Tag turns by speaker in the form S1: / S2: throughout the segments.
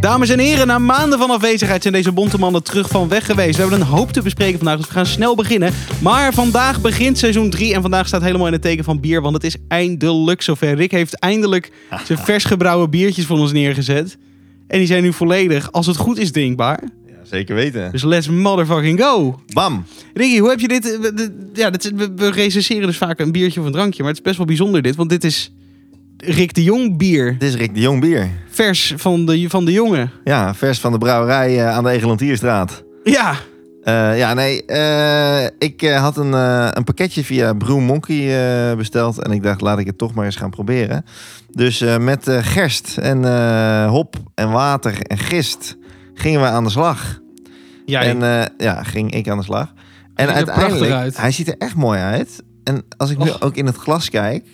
S1: Dames en heren, na maanden van afwezigheid zijn deze bonte mannen terug van weg geweest. We hebben een hoop te bespreken vandaag, dus we gaan snel beginnen. Maar vandaag begint seizoen 3 en vandaag staat helemaal in het teken van bier, want het is eindelijk zover. Rick heeft eindelijk zijn vers gebrouwen biertjes voor ons neergezet. En die zijn nu volledig, als het goed is, drinkbaar.
S2: Ja, zeker weten.
S1: Dus let's motherfucking go!
S2: Bam!
S1: Ricky, hoe heb je dit... eh, we- de- Ja, dit, is- we- we recenseren dus vaak een biertje of een drankje, maar het is best wel bijzonder dit, want dit is Rick de Jong bier.
S2: Dit is Rick de Jong bier.
S1: Vers van de, van de jongen.
S2: Ja, vers van de brouwerij eh, aan de Egelantierstraat.
S1: Ja,
S2: Eh, ja, nee, eh, ik eh, had een, eh, een pakketje via Brew Monkey eh, besteld. En ik dacht, laat ik het toch maar eens gaan proberen. Dus eh, met eh, gerst en eh, hop en water en gist gingen we aan de slag.
S1: ja
S2: en eh, ja, ging ik aan de slag. En
S3: er prachtig
S2: uiteindelijk,
S3: uit.
S2: hij ziet er echt mooi uit. En als ik nu
S3: Och.
S2: ook in het glas kijk,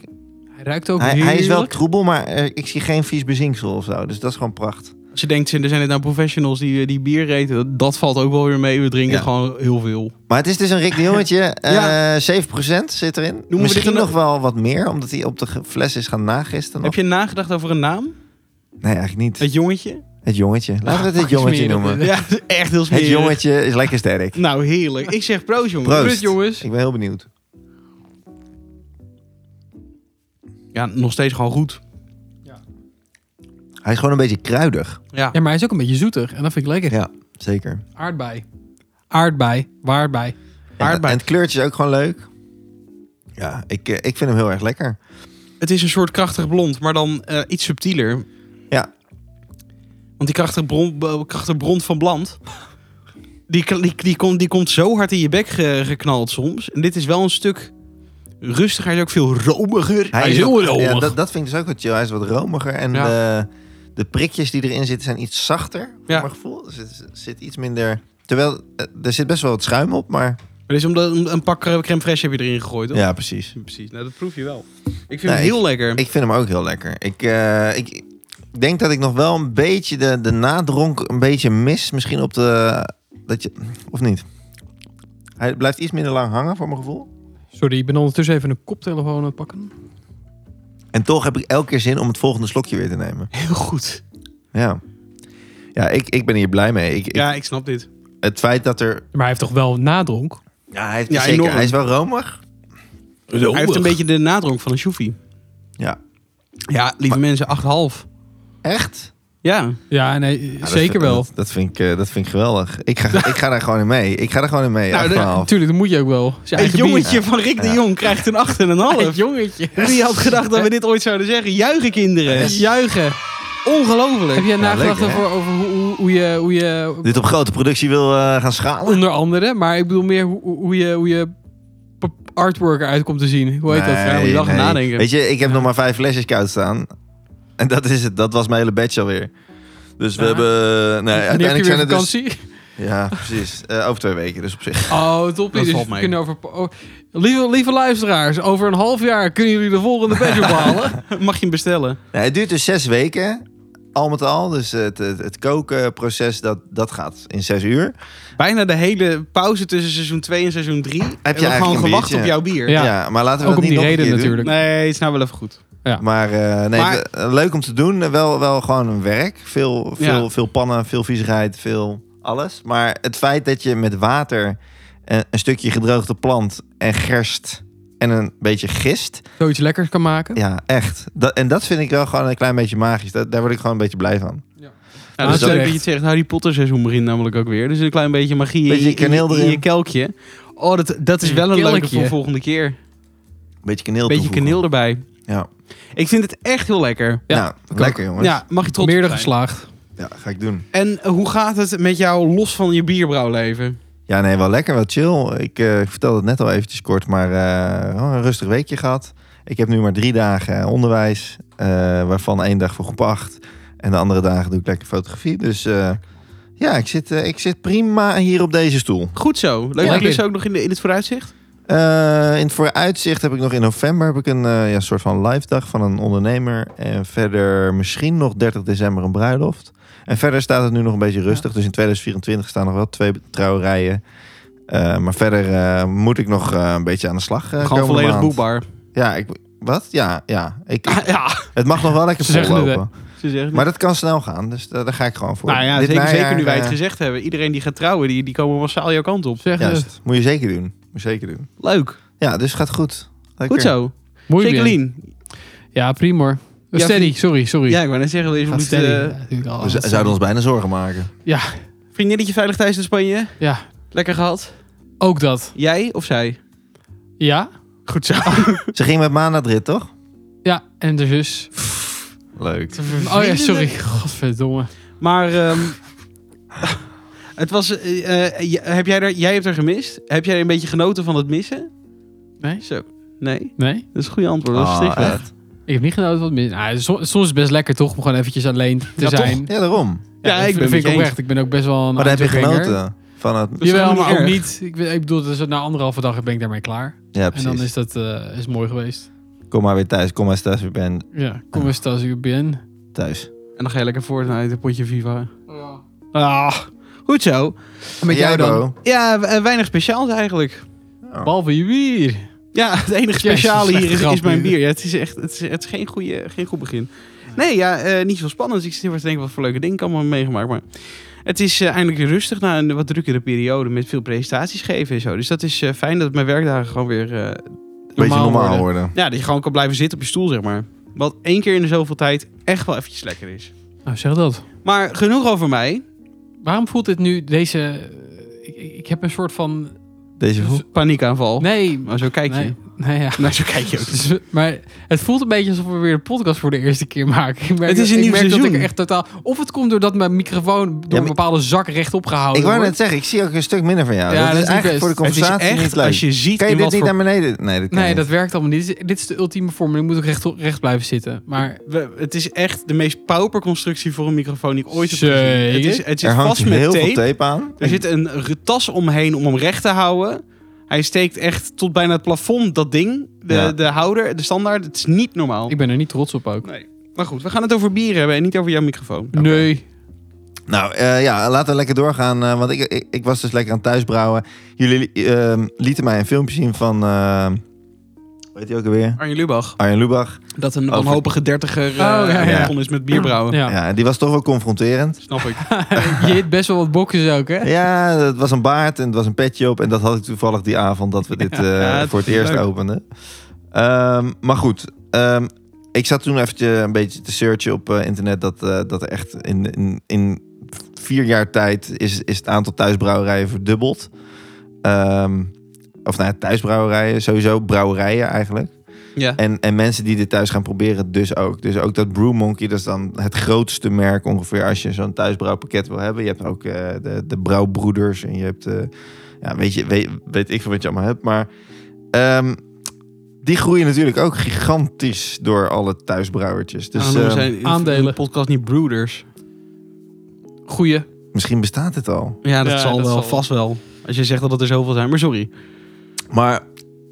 S3: Hij ruikt ook
S2: hij,
S3: heerlijk.
S2: hij is wel troebel, maar eh, ik zie geen vies bezinksel of zo. Dus dat is gewoon pracht.
S1: Als je denkt, zijn- er zijn het nou professionals die, eh, die bier reten, dat, dat valt ook wel weer mee. We drinken
S2: Ja.
S1: gewoon heel veel.
S2: Maar het is dus een Rick de Jongetje. eh,
S1: Ja.
S2: 7% zit erin.
S1: dit
S2: Misschien
S1: een-
S2: nog wel wat meer, omdat hij op de ge- fles is gaan nagisten.
S1: Heb
S2: nog.
S1: je nagedacht over een naam?
S2: Nee, eigenlijk niet.
S1: Het jongetje?
S2: Het jongetje. Laten we het het
S3: fuck,
S2: jongetje
S3: smerig.
S2: noemen.
S1: Ja, dat is echt heel smerig.
S2: Het jongetje is lekker sterk.
S1: Nou, heerlijk. Ik zeg proost, jongen.
S2: Proost.
S3: Proost, jongens.
S2: Ik ben heel benieuwd.
S1: Ja, nog steeds gewoon goed.
S2: Hij is gewoon een beetje kruidig.
S1: Ja.
S3: Ja, maar hij is ook een beetje zoeter. En dat vind ik lekker.
S2: Ja, zeker.
S3: Aardbei. Aardbei. Waarbij.
S2: En, en
S1: Aardbei.
S2: het kleurtje is ook gewoon leuk. Ja, ik, eh, ik vind hem heel erg lekker.
S1: Het is een soort krachtig blond, maar dan eh, iets subtieler.
S2: Ja.
S1: Want die krachtig bron, b- krachtig bron van Bland, die, k- die, die, komt, die komt zo hard in je bek ge- geknald soms. En dit is wel een stuk rustiger. Hij is ook veel romiger.
S3: is heel
S2: ook-
S3: romig.
S2: ja, dat, dat vind ik dus ook wat chill. Hij is wat romiger. En
S1: Ja.
S2: de, de prikjes die erin zitten zijn iets zachter. Voor
S1: Ja.
S2: mijn gevoel. Er zit, zit iets minder... Terwijl, eh, er zit best wel wat schuim op, maar...
S1: Maar dit is omdat een, een pak eh, crème fraîche heb je erin gegooid, toch?
S2: Ja, precies.
S1: Precies, nou dat proef je wel. Ik vind
S2: Nee,
S1: het heel lekker.
S2: Ik vind hem ook heel lekker. Ik, eh, ik, ik denk dat ik nog wel een beetje de, de nadronk een beetje mis. Misschien op de... Dat je, of niet? Hij blijft iets minder lang hangen, voor mijn gevoel.
S3: Sorry, ik ben ondertussen even een koptelefoon aan het pakken.
S2: En toch heb ik elke keer zin om het volgende slokje weer te nemen.
S1: Heel goed.
S2: Ja. Ja, ik, ik ben hier blij mee. Ik, ik-
S1: Ja, ik snap dit.
S2: Het feit dat er...
S3: Maar hij heeft toch wel nadronk?
S2: Ja, hij, heeft
S1: Ja,
S2: zeker,
S1: enorm.
S2: hij is wel romig.
S1: Hij heeft een beetje de nadronk van een shoefie.
S2: Ja.
S1: Ja, lieve mensen, 8,5.
S2: Echt?
S1: Ja.
S3: Ja, nee,
S2: Ja, dat
S3: zeker
S2: vind-
S3: wel.
S2: Dat, dat vind ik, eh, dat vind ik geweldig. Ik ga, ik ga daar gewoon in mee. Ik ga daar gewoon in mee.
S1: Nou, dat-
S2: 8,5.
S3: Natuurlijk, dat moet je ook wel. Zijn
S1: Het
S3: eigen
S1: jongetje
S2: bier.
S1: van Rick de
S2: Ja.
S1: Jong krijgt een
S3: bier.
S1: 8,5.
S3: Het jongetje.
S1: Wie had gedacht dat we dit ooit zouden zeggen? Juichen, kinderen.
S3: Juichen. Heb
S1: Ongelooflijk.
S3: jij nagedacht
S2: leuk, hè?
S3: over, over hoe, hoe, hoe je, hoe je
S2: Dit op grote productie wil eh, gaan schalen?
S3: onder andere, maar ik bedoel meer hoe, hoe- hoe je, hoe je p- artwork eruit komt te zien. Hoe heet dat?
S1: Ja, moet je wel gaan nadenken.
S2: Weet je, ik heb nog maar vijf flesjes koud staan. En dat is het. Dat was mijn hele batch alweer. Dus we
S3: Ja.
S2: hebben... Nee,
S3: Wanneer heb je
S2: uiteindelijk
S3: weer
S2: zijn het dus...
S3: vakantie?
S2: Ja, precies. Eh, over twee weken, dus op zich.
S3: Oh, top.
S1: Dat
S3: Dus
S1: valt
S3: we
S1: mee.
S3: kunnen over, oh, lieve, lieve luisteraars, over een half jaar kunnen jullie de volgende badge ophalen.
S1: Mag je hem bestellen?
S2: Nou, het duurt dus zes weken, al met al. Dus het, het, het kokenproces, dat, dat gaat in zes uur.
S1: Bijna de hele pauze tussen seizoen 2 en seizoen 3.
S2: eigenlijk
S1: gewoon
S2: een
S1: gewacht
S2: biertje?
S1: op jouw bier?
S3: Ja.
S2: Ja, maar laten we
S3: Ook
S2: dat
S3: om
S2: niet nog een
S3: die reden
S2: keer doen.
S3: natuurlijk.
S1: Nee, het is nou wel even goed.
S2: Maar, eh, nee,
S1: Maar-
S2: we- eh, leuk om te doen. Eh, Wel, wel gewoon een werk. Veel, veel, veel pannen, veel viezigheid, veel alles. Maar het feit dat je met water eh, een stukje gedroogde plant en gerst en een beetje gist.
S3: Zoiets lekkers kan maken.
S2: Ja, echt. Dat, en dat vind ik wel gewoon een klein beetje magisch. Dat, daar word ik gewoon een beetje blij van.
S1: Nou, dat is
S3: terecht.
S1: leuk dat je het zegt. Harry Potter seizoen begint namelijk ook weer. Dus een klein beetje magie in-
S2: Beetje
S1: in,
S2: kaneel
S1: in je- in je
S2: erin.
S1: kelkje. Oh, dat, dat is
S3: In
S1: wel een leuke
S3: kelkje.
S1: voor volgende keer.
S2: Beetje kaneel
S1: Beetje
S2: toevoegen.
S1: kaneel erbij.
S2: Ja.
S1: Ik vind het echt heel lekker.
S3: Ja,
S2: nou, lekker jongens. Ja.
S1: Ja, mag je trots op
S3: Meerdere
S1: zijn.
S3: geslaagd.
S2: ga ik doen.
S1: En eh, hoe gaat het met jou los van je bierbrouwleven?
S2: Ja, nee, wel lekker, wel chill. Ik, eh, ik vertelde het net al eventjes kort, maar eh, gewoon een rustig weekje gehad. Ik heb nu maar drie dagen onderwijs, eh, waarvan één dag voor groep acht. En de andere dagen doe ik lekker fotografie. Dus eh, ja, ik zit, eh, ik zit prima hier op deze stoel.
S1: Goed zo. Leuk
S3: Ja.
S1: dat jullie ook nog in, de, in het vooruitzicht.
S2: Eh, in het vooruitzicht heb ik nog in november heb ik een eh, ja, soort van live dag van een ondernemer. En verder misschien nog 30 december een bruiloft. En verder staat het nu nog een beetje rustig. Dus in 2024 staan nog wel twee trouwerijen. Eh, maar verder eh, moet ik nog eh, een beetje aan de slag eh,
S1: Gewoon
S2: komende
S1: volledig Ah.
S2: maand.
S1: boekbaar.
S2: Ja, ik, wat? Ja, ja. Ik,
S1: Ja,
S2: het mag nog wel lekker
S3: Ze zeggen het,
S2: vollopen.
S1: Ze zeggen,
S2: Maar dat kan snel gaan, dus da- daar ga ik gewoon voor.
S1: nou ja,
S2: Dit
S1: zeker,
S2: najaar,
S1: zeker nu wij het
S2: eh,
S1: gezegd hebben. Iedereen die gaat trouwen, die, die komen massaal jouw kant op.
S3: Zeg het.
S2: Juist, moet je zeker doen. Moet je zeker doen.
S1: Leuk.
S2: Ja, dus gaat goed. Lekker.
S1: Goed zo.
S3: Mooi weer.
S1: Jacqueline.
S3: Ja, primor. Oh,
S1: Ja,
S3: steady, sorry, sorry.
S1: Ja, ik wou net zeggen, deze
S3: Gaat
S1: bloed,
S3: steady. Ja,
S1: eh
S3: natuurlijk al.
S2: We z- zouden ons bijna zorgen maken.
S3: Ja,
S1: vriendinnetje veilig thuis in Spanje.
S3: ja,
S1: Lekker gehad.
S3: ook dat.
S1: Jij of zij?
S3: Ja, Oh,
S1: Goed zo.
S2: Ze ging met Ma naar Madrid, toch?
S3: ja, en de zus.
S2: Leuk.
S3: Oh ja, sorry. Godverdomme.
S1: Maar ehm, het was. eh, eh, j- heb jij, er, jij hebt er gemist? Heb jij een beetje genoten van het missen?
S3: Nee?
S1: Zo. Nee,
S3: Nee,
S1: dat is een goede antwoord. Dat is
S2: Ah,
S1: stichtelijk.
S2: echt?
S3: ik heb niet genoten van het min. Nou, so- soms is het best lekker toch om gewoon eventjes alleen te
S1: Ja, toch?
S3: zijn.
S2: Ja, daarom.
S1: Ja, ik ben
S3: vind
S1: het
S3: ik
S1: met je
S3: oprecht. Ik ben ook best wel een
S2: Maar daar heb je
S3: uitganger.
S2: genoten van het...
S1: Dat is
S3: Jawel,
S1: helemaal
S3: maar ook
S1: niet
S3: niet. Ik, ben- ik bedoel, dus na anderhalve dag ben ik daarmee klaar.
S2: Ja,
S3: En dan
S2: precies.
S3: is dat eh, is mooi geweest.
S2: Kom maar weer thuis. Kom maar thuis weer ben
S3: Ja, kom eens thuis, ik ben.
S2: thuis.
S1: En dan ga je lekker Fortnite, een potje Viva. Ah, goed zo.
S3: En met jou
S2: Jij,
S3: dan?
S2: Bo?
S1: Ja, we- eh, weinig speciaals eigenlijk.
S3: Behalve je bier.
S1: Ja, het enige
S3: Jezus,
S1: speciale hier is,
S3: slechte
S1: is mijn
S3: grap.
S1: bier. Ja, het is echt het is, het is geen, goede, geen goed begin. Nee, ja, eh, niet veel spannend. Ik zit heel erg te denken wat voor leuke dingen ik allemaal heb meegemaakt. Maar het is eh, eindelijk weer rustig na een wat drukkere periode met veel presentaties geven en zo. Dus dat is eh, fijn dat mijn werkdagen gewoon weer... eh,
S2: Beetje normaal
S3: worden.
S2: worden.
S1: ja, dat je gewoon kan blijven zitten op je stoel, zeg maar. Wat één keer in de zoveel tijd echt wel eventjes lekker is.
S3: Nou, zeg dat.
S1: Maar genoeg over mij.
S3: Waarom voelt dit nu deze... eh, Ik, ik ik heb een soort van...
S2: Deze voel-
S1: Paniekaanval.
S3: Nee,
S1: Maar zo kijk je.
S3: nee, nee ja.
S1: Nou, zo kijk je ook.
S3: Dus, maar het voelt een beetje alsof we weer een podcast voor de eerste keer maken. Ik merk
S1: Het is
S3: dat-
S1: een
S3: ik
S1: nieuw
S3: merk Dat ik
S1: seizoen.
S3: er echt totaal, of het komt doordat mijn microfoon door
S2: maar-
S3: een bepaalde zak rechtop gehouden
S2: Ik wou
S3: wordt.
S2: net zeggen, ik zie ook een stuk minder van jou.
S3: Ja,
S2: dat,
S3: dat
S2: is
S3: is niet
S2: eigenlijk voor de
S1: Het
S3: best.
S1: is
S2: conversatie niet
S1: echt,
S2: leuk.
S1: als je ziet...
S2: Kan je
S1: in
S2: dit
S1: wat
S2: niet
S1: voor-
S2: naar beneden? Nee, dat kan
S3: Nee,
S2: niet.
S3: dat werkt allemaal niet. Dit is, dit is de ultieme vorm. Ik moet ook recht, recht blijven zitten. Maar
S1: We- het is echt de meest pauperconstructie voor een microfoon die ik ooit heb gezien.
S3: Zeker.
S1: Het, is, het zit
S2: Er hangt
S1: vast met
S2: heel
S1: tape.
S2: veel tape aan.
S1: Er zit een r- tas omheen om hem recht te houden. Hij steekt echt tot bijna het plafond, dat ding. De,
S2: Ja.
S1: de houder, de standaard. Het is niet normaal.
S3: ik ben er niet trots op ook.
S1: Nee. Maar goed, we gaan het over bier hebben en niet over jouw microfoon.
S3: Nee.
S2: Nou eh, ja, laten we lekker doorgaan. eh, want ik, ik, ik was dus lekker aan het thuisbrouwen. Jullie eh, lieten mij een filmpje zien van. eh, weet je ook alweer?
S1: Arjen Lubach.
S2: Arjen Lubach.
S1: Dat een
S2: Over-
S1: wanhopige dertiger eh
S3: ja, ja.
S1: begonnen is met bierbrouwen.
S3: Ja.
S2: Oh, Ja. die was toch wel confronterend.
S1: Snap ik.
S3: Je hit best wel wat bokjes ook, hè?
S2: Ja, het was een baard en het was een petje op. En dat had ik toevallig die avond dat we dit eh,
S1: Ja, dat
S2: voor het
S1: is
S2: eerst
S1: leuk.
S2: openden. Ehm, maar goed, ehm, ik zat toen eventjes een beetje te searchen op eh, internet. Dat, eh, dat er echt in, in, in vier jaar tijd is, is het aantal thuisbrouwerijen verdubbeld. Ehm, of nou ja, thuisbrouwerijen, sowieso brouwerijen eigenlijk.
S1: Ja.
S2: En, en mensen die dit thuis gaan proberen, dus ook. Dus ook dat Brew Monkey, dat is dan het grootste merk ongeveer als je zo'n thuisbrouwpakket wil hebben. Je hebt ook eh, de, de brouwbroeders en je hebt, eh, ja, weet, je, weet, weet ik veel wat je allemaal hebt. Maar ehm, die groeien natuurlijk ook gigantisch door alle thuisbrouwertjes. Dus
S1: Daarom noemen
S2: ehm,
S1: zij in de
S3: aandelen.
S1: podcast niet broeders.
S2: Eh,
S3: Goeie.
S2: misschien bestaat het al.
S1: Ja, dat
S3: Ja,
S1: zal
S3: dat
S1: wel,
S3: zal-
S1: vast wel. Als je zegt dat er zoveel zijn, maar sorry.
S2: Maar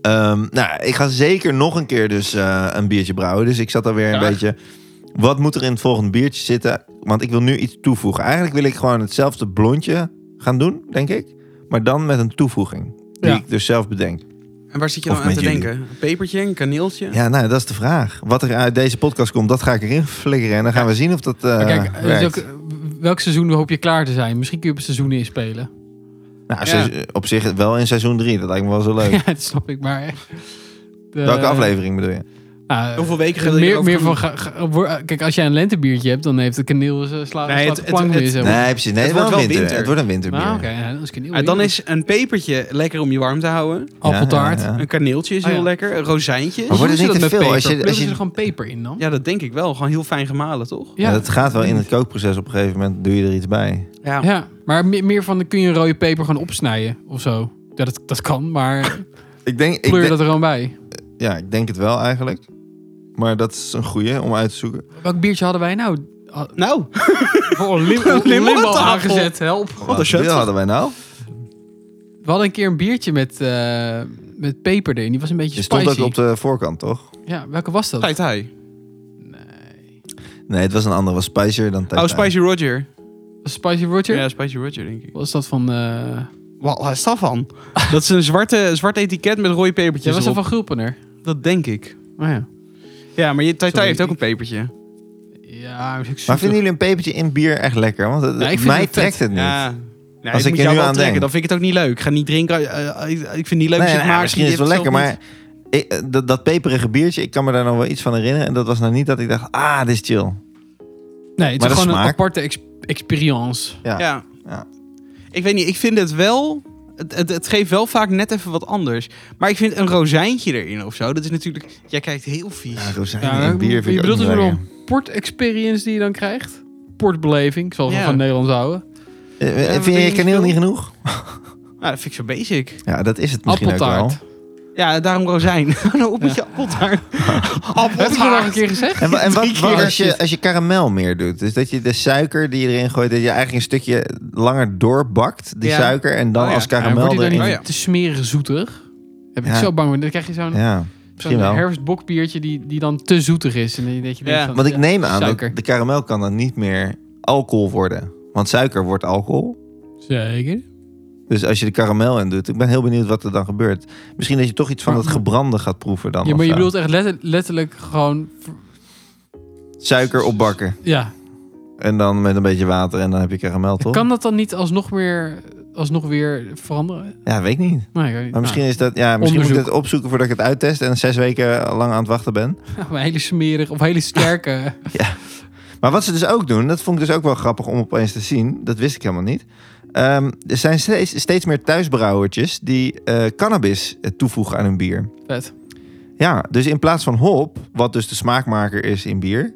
S2: ehm, nou, ik ga zeker nog een keer dus eh, een biertje brouwen. Dus ik zat alweer een
S1: Ja.
S2: beetje... Wat moet er in het volgende biertje zitten? Want ik wil nu iets toevoegen. Eigenlijk wil ik gewoon hetzelfde blondje gaan doen, denk ik. Maar dan met een toevoeging. Die
S3: Ja.
S2: ik dus zelf bedenk.
S1: En waar zit je
S2: Of
S1: nou aan te
S2: met jullie.
S1: denken? Een pepertje, een kaneeltje?
S2: Ja, nou, dat is de vraag. Wat er uit deze podcast komt, dat ga ik erin flikkeren. En dan gaan we zien of dat eh,
S3: Maar kijk, het is
S2: werkt.
S3: ook, welk seizoen hoop je klaar te zijn? Misschien kun je op het seizoen inspelen.
S2: Nou,
S1: ja.
S2: se- op zich wel in seizoen 3. Dat lijkt me wel zo leuk.
S3: ja, dat snap ik, maar... echt. De-
S2: Welke aflevering bedoel je?
S3: Nou,
S1: Hoeveel weken wil je
S3: meer,
S1: erover
S3: meer
S1: doen?
S3: van, ga- ga- wo- eh, kijk, als jij een lentebiertje hebt, dan heeft de kaneel eh, sla, slaat
S1: het-
S3: de
S1: het-
S3: plank
S1: het-
S3: weer, zeg maar.
S2: Nee, precies. Nee,
S1: Het
S2: het,
S1: wordt
S2: wordt
S1: wel
S2: wel winter.
S1: winter.
S2: Het wordt een winterbier.
S3: Ah, oké. ja, dan is kaneel
S1: Ah, dan
S3: weer.
S1: is een pepertje lekker om je warm te houden.
S3: Appeltaart.
S2: Ja, ja, ja.
S1: Een kaneeltje is
S3: Ah,
S1: heel
S3: ja.
S1: lekker. Een rozijntje.
S2: Maar wordt het
S3: Hoe doen
S2: niet
S3: ze
S2: te
S3: dat met
S2: veel als je-
S3: peper?
S2: als je-
S3: Pluggen ze er gewoon peper in dan?
S1: Ja, dat denk ik wel. Gewoon heel fijn gemalen, toch?
S2: Ja. dat gaat wel in het kookproces. Op een gegeven moment doe je er iets bij.
S1: Ja.
S3: Ja, maar me- meer van, dan kun je een rode peper gewoon opsnijden of zo. Ja, dat, dat kan, maar
S2: Ik denk, ik
S3: pleur je
S2: denk-
S3: dat er gewoon bij.
S2: ja, ik denk het wel eigenlijk. Maar dat is een goeie om uit te zoeken.
S3: Welk biertje hadden wij nou? Ah,
S1: Nou,
S3: Oh, lim
S1: Limbo
S3: limbo
S1: aan tafel.
S3: aangezet, help.
S2: Wat
S1: een shot.
S2: bier hadden wij nou?
S3: We hadden een keer een biertje met, eh, met peper erin. Die was een beetje
S2: Je
S3: spicy.
S2: stond ook op de voorkant, toch?
S3: Ja, welke was dat?
S1: Tai Tai.
S2: Nee, het was een andere. was Spicer dan Tijtijn.
S1: Oh, Spicy Roger.
S3: Was Spicy Roger?
S1: Ja, Spicy Roger, denk ik.
S3: Was dat van... eh
S1: Wat is dat van? Dat is een zwarte, zwart etiket met rode
S3: ja,
S1: pepertjes
S3: was dat
S1: erop.
S3: van Gulpener?
S1: Dat denk ik.
S3: Oh ja.
S1: Ja, maar je- Tai Tai
S3: Sorry,
S1: heeft ook
S3: ik-
S1: een pepertje.
S3: Ja, maar,
S2: Maar vinden jullie een pepertje in bier echt lekker? Want het,
S3: Ja, ik vind
S2: mij
S3: het vet.
S2: trekt het niet.
S1: Ja. Nee,
S2: Als
S1: ik
S2: ik
S1: moet
S2: er
S1: jou
S2: nu
S1: wel
S2: aan
S1: trekken,
S2: denk.
S1: dan vind ik het ook niet leuk. Ik ga niet drinken. eh, eh, ik vind het niet leuk als je
S2: Nee, nee,
S1: het
S2: nou,
S1: maakt.
S2: misschien is het wel
S1: Je hebt
S2: lekker,
S1: zelf
S2: maar ik- eh, dat, dat peperige biertje, ik kan me daar nog wel iets van herinneren. En dat was nou niet dat ik dacht, ah, dit is chill.
S3: nee, het
S2: maar
S3: is
S2: de
S3: gewoon een
S2: smaak-
S3: aparte ex- experience.
S2: Ja.
S1: niet- Ja.
S2: Ja.
S1: Ik weet niet, ik vind het wel... Het, het, het geeft wel vaak net even wat anders. Maar ik vind een rozijntje erin of zo, dat is natuurlijk... Jij kijkt heel vies.
S2: Ja, rozijnen
S3: Ja,
S2: in bier vind
S3: je
S2: ik ook
S3: bedoelt
S2: niet
S3: dus wel
S2: lekker.
S3: een port-experience die je dan krijgt? Portbeleving, ik zal het
S1: Ja.
S3: wel van Nederlands houden.
S2: Eh, eh,
S1: Ja,
S2: vind je
S1: weet je
S2: kaneel
S1: veel?
S2: niet genoeg?
S1: Nou, dat vind ik zo basic.
S2: Ja, dat is het misschien ook wel.
S3: Appeltaart.
S1: Ja, daarom rozijn. nou, op met je appeltaart.
S3: Heb ik dat nog een
S1: appeltaart.
S3: keer gezegd?
S2: En, wa- en
S1: Drie
S2: wat, wat
S1: keer.
S2: als, je, als je karamel meer doet? Dus dat je de suiker die je erin gooit, dat je eigenlijk een stukje langer doorbakt, die
S1: Ja.
S2: suiker, en dan
S1: Oh ja.
S2: als
S3: Ja,
S2: karamel
S3: wordt die dan
S2: erin.
S3: niet
S1: Oh ja.
S3: te smerig zoeter? Heb ik
S2: Ja.
S3: zo bang voor. Dan krijg je zo'n
S2: Ja,
S3: zo'n
S2: misschien wel.
S3: herfstbokbiertje die, die dan te zoetig is. En dan denk je denkt
S1: Ja.
S3: van,
S2: Want ik
S3: ja,
S2: neem aan
S3: suiker.
S2: dat de karamel kan dan niet meer alcohol worden. Want suiker wordt alcohol.
S3: Zeker.
S2: Dus als je de karamel in doet, ik ben heel benieuwd wat er dan gebeurt. Misschien dat je toch iets van
S3: Maar-
S2: dat gebrande gaat proeven dan.
S3: Ja,
S2: of
S3: maar je
S2: zo.
S3: bedoelt echt letter- letterlijk gewoon...
S2: Suiker opbakken
S3: Ja,
S2: en dan met een beetje water en dan heb je karamel toch?
S3: kan dat dan niet alsnog, meer, alsnog weer veranderen?
S2: Ja, weet ik niet.
S3: Nee, ik weet niet.
S2: Maar misschien is dat, ja, misschien moet ik
S3: Onderzoek.
S2: het opzoeken voordat ik het uittest en zes weken lang aan het wachten ben.
S3: Nou, een hele smerig of hele sterke...
S2: Maar wat ze dus ook doen, dat vond ik dus ook wel grappig om opeens te zien. Dat wist ik helemaal niet. Ehm, er zijn steeds, steeds meer thuisbrouwertjes die eh, cannabis eh, toevoegen aan hun bier.
S3: Vet.
S2: Ja, dus in plaats van hop, wat dus de smaakmaker is in bier,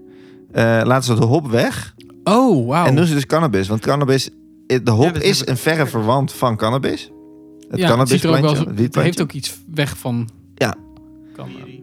S2: eh, laten ze de hop weg.
S3: Oh, wauw.
S2: En doen ze dus cannabis. Want cannabis, eh, de hop
S1: dat
S2: is
S1: heb
S2: een verre verwant van cannabis. Het
S3: Ja, het ziet er ook
S2: cannabisplantje,
S3: wel zo-
S2: het
S3: Het heeft
S2: wietplantje.
S3: ook iets weg van...
S2: Ja.
S3: Cannabis.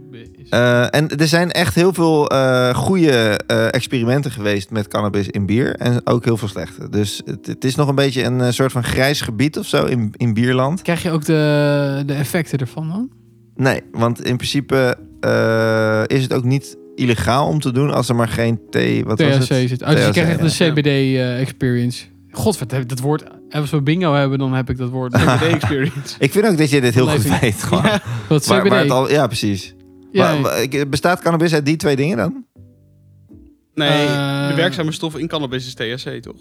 S2: Eh, en er zijn echt heel veel eh goede eh, experimenten geweest met cannabis in bier. En ook heel veel slechte. Dus het, het is nog een beetje een eh, soort van grijs gebied of zo in, in bierland.
S3: Krijg je ook de, de effecten ervan dan?
S2: Nee, want in principe eh, is het ook niet illegaal om te doen als er maar geen thee... Wat
S3: THC
S2: was het?
S3: zit. Oh, dus je
S2: THC,
S3: krijgt echt
S2: ja.
S3: de eh, CBD-experience. Godver, dat dat woord... Als we bingo hebben, dan heb ik dat woord.
S1: Everyday experience.
S2: Ik vind ook dat je dit heel goed
S3: Leving.
S2: weet. Gewoon.
S3: Dat CBD.
S2: Waar, waar het al, ja, precies.
S3: Ja,
S2: Maar- maar, ik- bestaat cannabis uit die twee dingen dan?
S1: Nee,
S3: Eh.
S1: de werkzame stof in cannabis is THC, toch?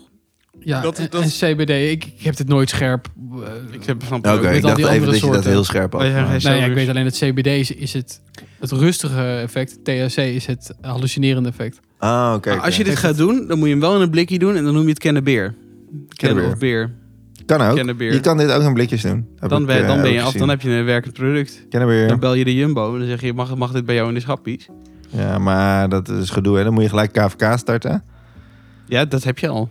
S3: ja,
S1: dat-
S3: en-
S1: dat-
S3: en CBD. Ik, ik heb dit nooit scherp. eh,
S1: Ik heb van
S2: Nou, Oké,
S3: met
S2: ik
S3: al
S2: dacht
S3: die
S2: even
S3: andere
S2: dat je dat
S3: soorten.
S2: heel scherp had.
S1: Wij zijn geen
S2: Maar-
S1: s-
S3: nou ja, ik
S1: dus-
S3: weet alleen dat CBD is, is het, het rustige effect. THC is het hallucinerende effect.
S2: Ah, oké.
S1: Maar
S2: oké.
S1: Als je dit gaat doen, dan moet je hem wel in een blikje doen en dan noem je het kennebeer. Kennen
S2: Kennebeer.
S1: of beer.
S2: Kan ook.
S1: Kennebeer.
S2: Je kan dit ook in blikjes doen. Heb
S1: Dan,
S2: ik,
S1: ben,
S2: eh,
S1: dan ben
S2: ook
S1: je af,
S2: gezien.
S1: dan heb je een werkend product.
S2: Kennebeer.
S1: Dan bel je de Jumbo en dan zeg je, mag, mag dit bij jou in de schappies?
S2: Ja, maar dat is gedoe. Hè? Dan moet je gelijk KVK starten.
S1: Ja, dat heb je al.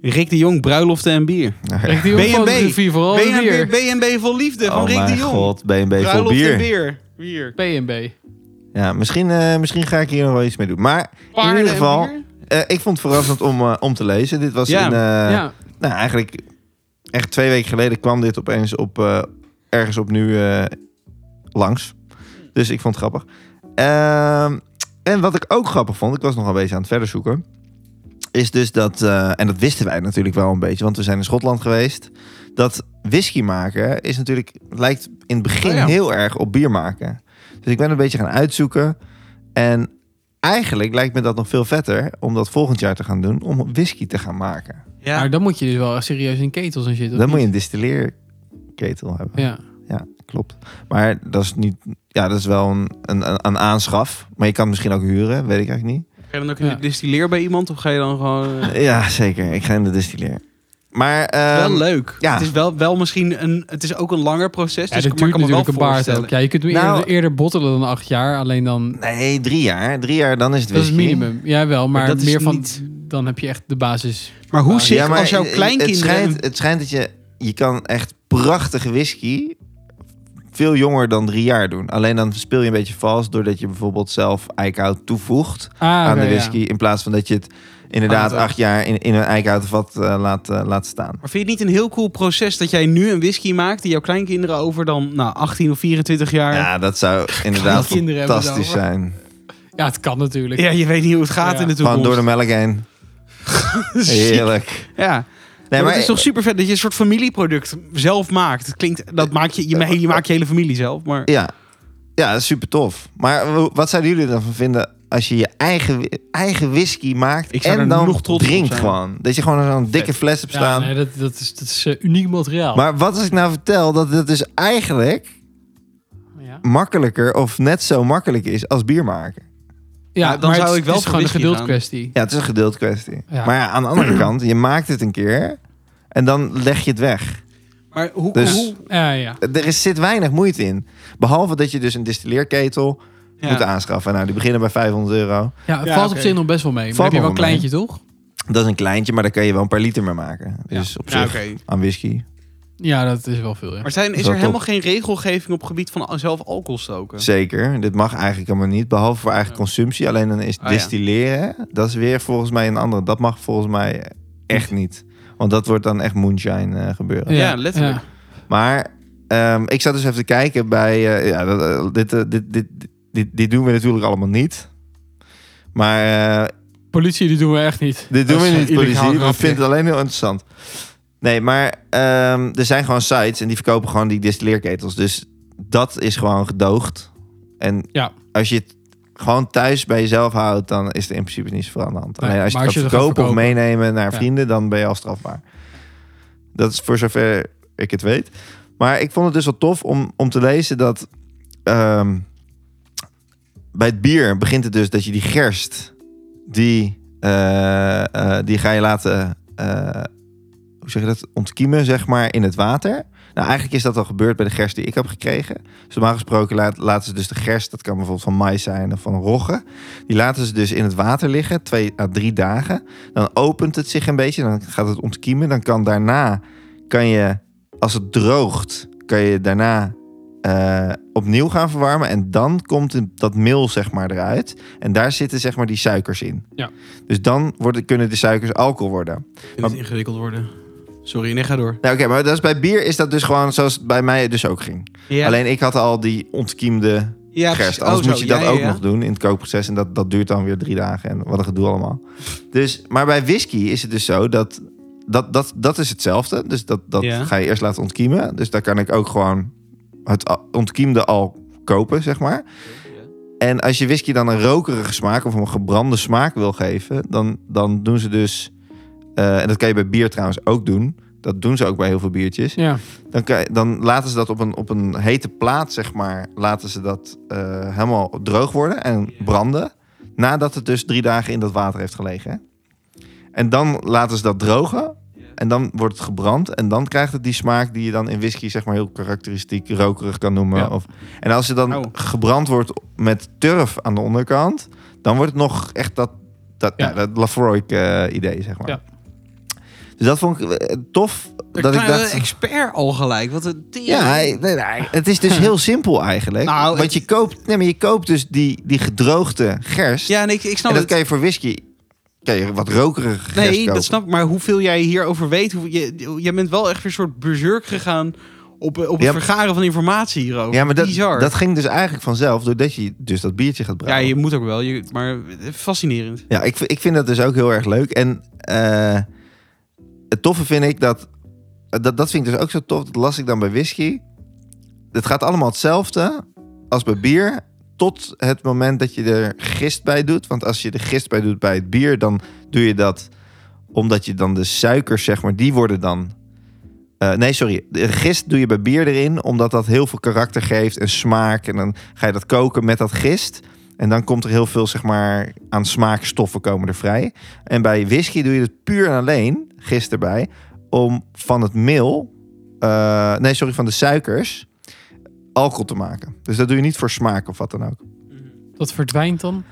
S1: Rick de Jong, bruiloften en bier.
S2: Nou, ja.
S3: Kijk, die
S1: B&B.
S3: fotografie vooral de bier.
S1: BNB vol liefde van
S2: oh
S1: Rick de
S2: mijn
S1: Jong.
S2: god, BNB vol
S1: Bruiloft en
S2: bier.
S1: bier. bier.
S3: B&B.
S2: Ja, misschien, eh, misschien ga ik hier nog wel iets mee doen. Maar in ieder geval, eh, ik vond het verrassend om, eh, om te lezen. Dit was
S1: Ja.
S2: in, eh,
S3: ja,
S2: nou, eigenlijk echt twee weken geleden kwam dit opeens op, eh, ergens opnieuw eh, langs. Dus ik vond het grappig. Ehm, en wat ik ook grappig vond, ik was nog een beetje aan het verder zoeken, is dus dat, eh, en dat wisten wij natuurlijk wel een beetje, want we zijn in Schotland geweest, dat whisky maken is natuurlijk, lijkt in het begin
S1: Oh ja.
S2: heel erg op bier maken. Dus ik ben een beetje gaan uitzoeken en eigenlijk lijkt me dat nog veel vetter om dat volgend jaar te gaan doen, om whisky te gaan maken.
S1: Ja.
S3: maar dan moet je dus wel echt serieus in ketels en shit. of
S2: Dan moet je
S3: niet?
S2: een distilleerketel hebben.
S3: Ja.
S1: Dus
S2: Klopt. Maar dat is niet. Ja, dat is wel een, een, een- een aanschaf. Maar je kan het misschien ook huren, weet ik eigenlijk niet.
S1: Ga je dan ook in
S3: Ja.
S1: de distilleer bij iemand of ga je dan gewoon... eh,
S2: Ja, zeker. Ik ga in de distilleer. Maar ehm,
S1: wel leuk.
S2: ja.
S1: Het is wel, wel misschien een... Het is ook een langer proces,
S3: Ja,
S1: dus
S3: dat
S1: ik maar ik
S3: duurt
S1: kan me wel
S3: natuurlijk een baard
S1: voorstellen.
S3: ook. Ja, je kunt hem
S2: Nou-
S3: eerder, eerder bottelen dan acht jaar. Alleen dan...
S2: nee, drie jaar. Drie jaar, dan is het
S3: dat is het
S2: whisky.
S3: minimum. Ja, wel. Maar,
S2: Maar dat is
S3: meer van...
S2: niet-
S3: Dan heb je echt de basis.
S1: Maar hoe
S3: Ja,
S1: zit
S2: maar
S1: als jouw
S2: het-
S1: kleinkinderen...
S2: Het schijnt, het schijnt dat je. Je kan echt prachtige whisky. Veel jonger dan drie jaar doen. Alleen dan speel je een beetje vals doordat je bijvoorbeeld zelf eikenhout toevoegt.
S3: Ah,
S2: aan
S3: oké,
S2: de
S3: ja.
S2: whisky. In plaats van dat je het inderdaad
S1: Aantal.
S2: acht jaar in, in een eikenhouten vat eh, laat, eh, laat staan.
S1: Maar vind je het niet een heel cool proces dat jij nu een whisky maakt die jouw kleinkinderen over dan nou, 18 of 24 jaar... Ja,
S2: Ja, dat zou inderdaad
S3: kinderen hebben het
S2: fantastisch
S3: over.
S2: zijn.
S3: Ja, het kan natuurlijk.
S1: je weet niet hoe het gaat
S3: Ja.
S1: in de
S2: Gewoon
S1: toekomst. Dus
S2: door de melk heen. Heerlijk.
S1: Ja,
S2: Nee,
S1: maar
S2: maar
S1: het is toch super vet dat je een soort familieproduct zelf maakt. Het klinkt, dat maak je, je, ma- je maakt je hele familie zelf, maar...
S2: ja, ja, super tof. Maar w- wat zouden jullie ervan vinden als je je eigen, wi- eigen whisky maakt
S1: Ik zou
S2: en
S1: er
S2: dan
S1: nog trots op
S2: drinkt
S1: zijn.
S2: gewoon. Dat je gewoon zo'n dikke
S1: Vet.
S2: fles hebt staan.
S3: nee, dat, dat is, dat is eh, uniek materiaal.
S2: Maar wat als ik nou vertel dat het dus eigenlijk
S3: ja,
S2: makkelijker of net zo makkelijk is als bier maken?
S3: ja
S1: dan
S3: maar
S1: zou
S3: het,
S1: ik wel
S3: het is
S1: voor
S3: gewoon een
S1: whisky
S3: geduld
S1: gaan.
S3: kwestie.
S2: Ja, het is een geduld kwestie.
S3: Ja.
S2: Maar ja, aan de andere kant, je maakt het een keer en dan leg je het weg.
S1: Maar hoe,
S2: Dus-
S1: hoe
S3: Ja, ja.
S2: Er is, zit weinig moeite in. Behalve dat je dus een distilleerketel
S1: Ja.
S2: moet aanschaffen. Nou, die beginnen bij 500 euro.
S3: ja het
S1: Ja,
S3: valt
S1: oké.
S3: op zich nog best wel mee. Maar
S2: Valt
S3: heb je wel een
S2: nog wel mee.
S3: kleintje, toch?
S2: Dat is een kleintje, maar daar kan je wel een paar liter mee maken. Dus op zich
S1: Ja, oké.
S2: aan whisky.
S3: Ja, dat is wel veel, ja.
S1: Maar zijn, is
S2: Zo
S1: er
S2: top.
S1: helemaal geen regelgeving op het gebied van zelf alcohol stoken?
S2: Zeker. Dit mag eigenlijk allemaal niet. Behalve voor eigen
S3: Ja.
S2: consumptie. Alleen dan is
S1: Ah, ja.
S2: distilleren. Dat is weer volgens mij een andere. Dat mag volgens mij echt niet. Want dat wordt dan echt moonshine eh, gebeuren.
S1: Ja, letterlijk.
S2: Maar ehm, ik zat dus even te kijken bij. eh, ja, dat, eh, dit, eh, dit, dit, dit, dit doen we natuurlijk allemaal niet. Maar eh,
S3: Politie, die doen we echt niet.
S2: dit
S3: Dat
S2: doen we
S3: is een
S2: niet,
S3: illegaal
S2: politie. We
S3: grapje.
S2: vinden het alleen heel interessant. Nee, maar ehm, er zijn gewoon sites en die verkopen gewoon die distilleerketels. Dus dat is gewoon gedoogd. En
S3: Ja.
S2: als je het gewoon thuis bij jezelf houdt, dan is er in principe niet zoveel aan de hand.
S3: Nee,
S2: Alleen als je
S3: maar
S2: het
S3: als
S2: gaat
S3: je het gaat
S2: verkopen of meenemen naar
S3: Ja.
S2: vrienden, dan ben je al strafbaar. Dat is voor zover ik het weet. Maar ik vond het dus wel tof om, om te lezen dat ehm, bij het bier begint het dus dat je die gerst, die, eh, eh, die ga je laten, eh, hoe zeg je dat, ontkiemen zeg maar in het water. Nou, eigenlijk is dat al gebeurd bij de gerst die ik heb gekregen. Dus normaal gesproken laat, laten ze dus de gerst, dat kan bijvoorbeeld van mais zijn of van rogge, die laten ze dus in het water liggen, twee à drie dagen. Dan opent het zich een beetje, dan gaat het ontkiemen. Dan kan daarna, kan je, als het droogt, kan je daarna eh, opnieuw gaan verwarmen. En dan komt het- dat meel zeg maar eruit. En daar zitten zeg maar die suikers in.
S3: Ja.
S2: Dus dan worden, kunnen de suikers alcohol worden.
S1: Vind het ingewikkeld worden. Sorry, nee, ga door.
S2: Nou, oké, maar dat is, bij bier is dat dus gewoon zoals het bij mij dus ook ging.
S1: Ja,
S2: Alleen ik had al die ontkiemde
S1: ja, precies.
S2: gerst. Anders
S1: Oh,
S2: moet
S1: zo.
S2: je dat
S1: Ja, ja,
S2: ook
S1: ja.
S2: nog doen in het kookproces. En dat, dat duurt dan weer drie dagen. En wat een gedoe allemaal. Dus, maar bij whisky is het dus zo dat... Dat, dat, dat is hetzelfde. Dus dat, dat
S1: Ja.
S2: ga je eerst laten ontkiemen. Dus daar kan ik ook gewoon het a- ontkiemde al kopen, zeg maar. En als je whisky dan een rokerige smaak of een gebrande smaak wil geven... dan, dan doen ze dus... eh, en dat kan je bij bier trouwens ook doen. Dat doen ze ook bij heel veel biertjes
S3: Ja.
S2: dan, kan- dan laten ze dat op een, op een hete plaat, zeg maar, laten ze dat eh, helemaal droog worden en branden. Nadat het dus drie dagen in dat water heeft gelegen. hè. En dan laten ze dat drogen. En dan wordt het gebrand. En dan krijgt het die smaak die je dan in whisky, zeg maar, heel karakteristiek rokerig kan noemen.
S3: Ja.
S2: Of, en als het dan
S1: Au.
S2: gebrand wordt met turf aan de onderkant, dan wordt het nog echt dat, dat,
S3: Ja.
S2: nou, dat Lafroy idee, zeg maar.
S3: Ja.
S2: Dus dat vond ik eh, tof.
S1: Een
S2: dat ik
S1: kleine
S2: dacht,
S1: expert al gelijk. Wat een tering.
S2: ja, hij- nee, nee, het is dus heel simpel eigenlijk.
S1: Nou,
S2: Want
S1: het-
S2: je koopt, nee, maar je koopt dus die, die gedroogde gerst.
S1: ja nee, ik, ik snap
S2: en dat
S1: het.
S2: kan je voor whisky, kan je wat rokerige gerst
S1: Nee,
S2: kopen.
S1: dat snap ik. Maar hoeveel jij hierover weet. Hoe, je, jij bent wel echt weer een soort berserk gegaan op, op het
S2: Ja, maar-
S1: vergaren van informatie hierover.
S2: Ja, maar dat,
S1: Bizar.
S2: dat ging dus eigenlijk vanzelf doordat je dus dat biertje gaat
S1: ja,
S2: brouwen.
S1: je moet ook wel. Je, maar fascinerend.
S2: Ja, ik, v- ik vind dat dus ook heel erg leuk. En eh, het toffe vind ik dat, dat... Dat vind ik dus ook zo tof. Dat las ik dan bij whisky. Het gaat allemaal hetzelfde als bij bier. Tot het moment dat je er gist bij doet. Want als je er gist bij doet bij het bier... dan doe je dat omdat je dan de suikers, zeg maar... die worden dan... eh, nee, sorry. De gist doe je bij bier erin... omdat dat heel veel karakter geeft en smaak. En dan ga je dat koken met dat gist... En dan komt er heel veel zeg maar, aan smaakstoffen komen er vrij. En bij whisky doe je het puur en alleen, gisteren bij, om van het meel, eh, nee sorry, van de suikers, alcohol te maken. Dus dat doe je niet voor smaak of wat dan ook.
S3: Dat verdwijnt dan.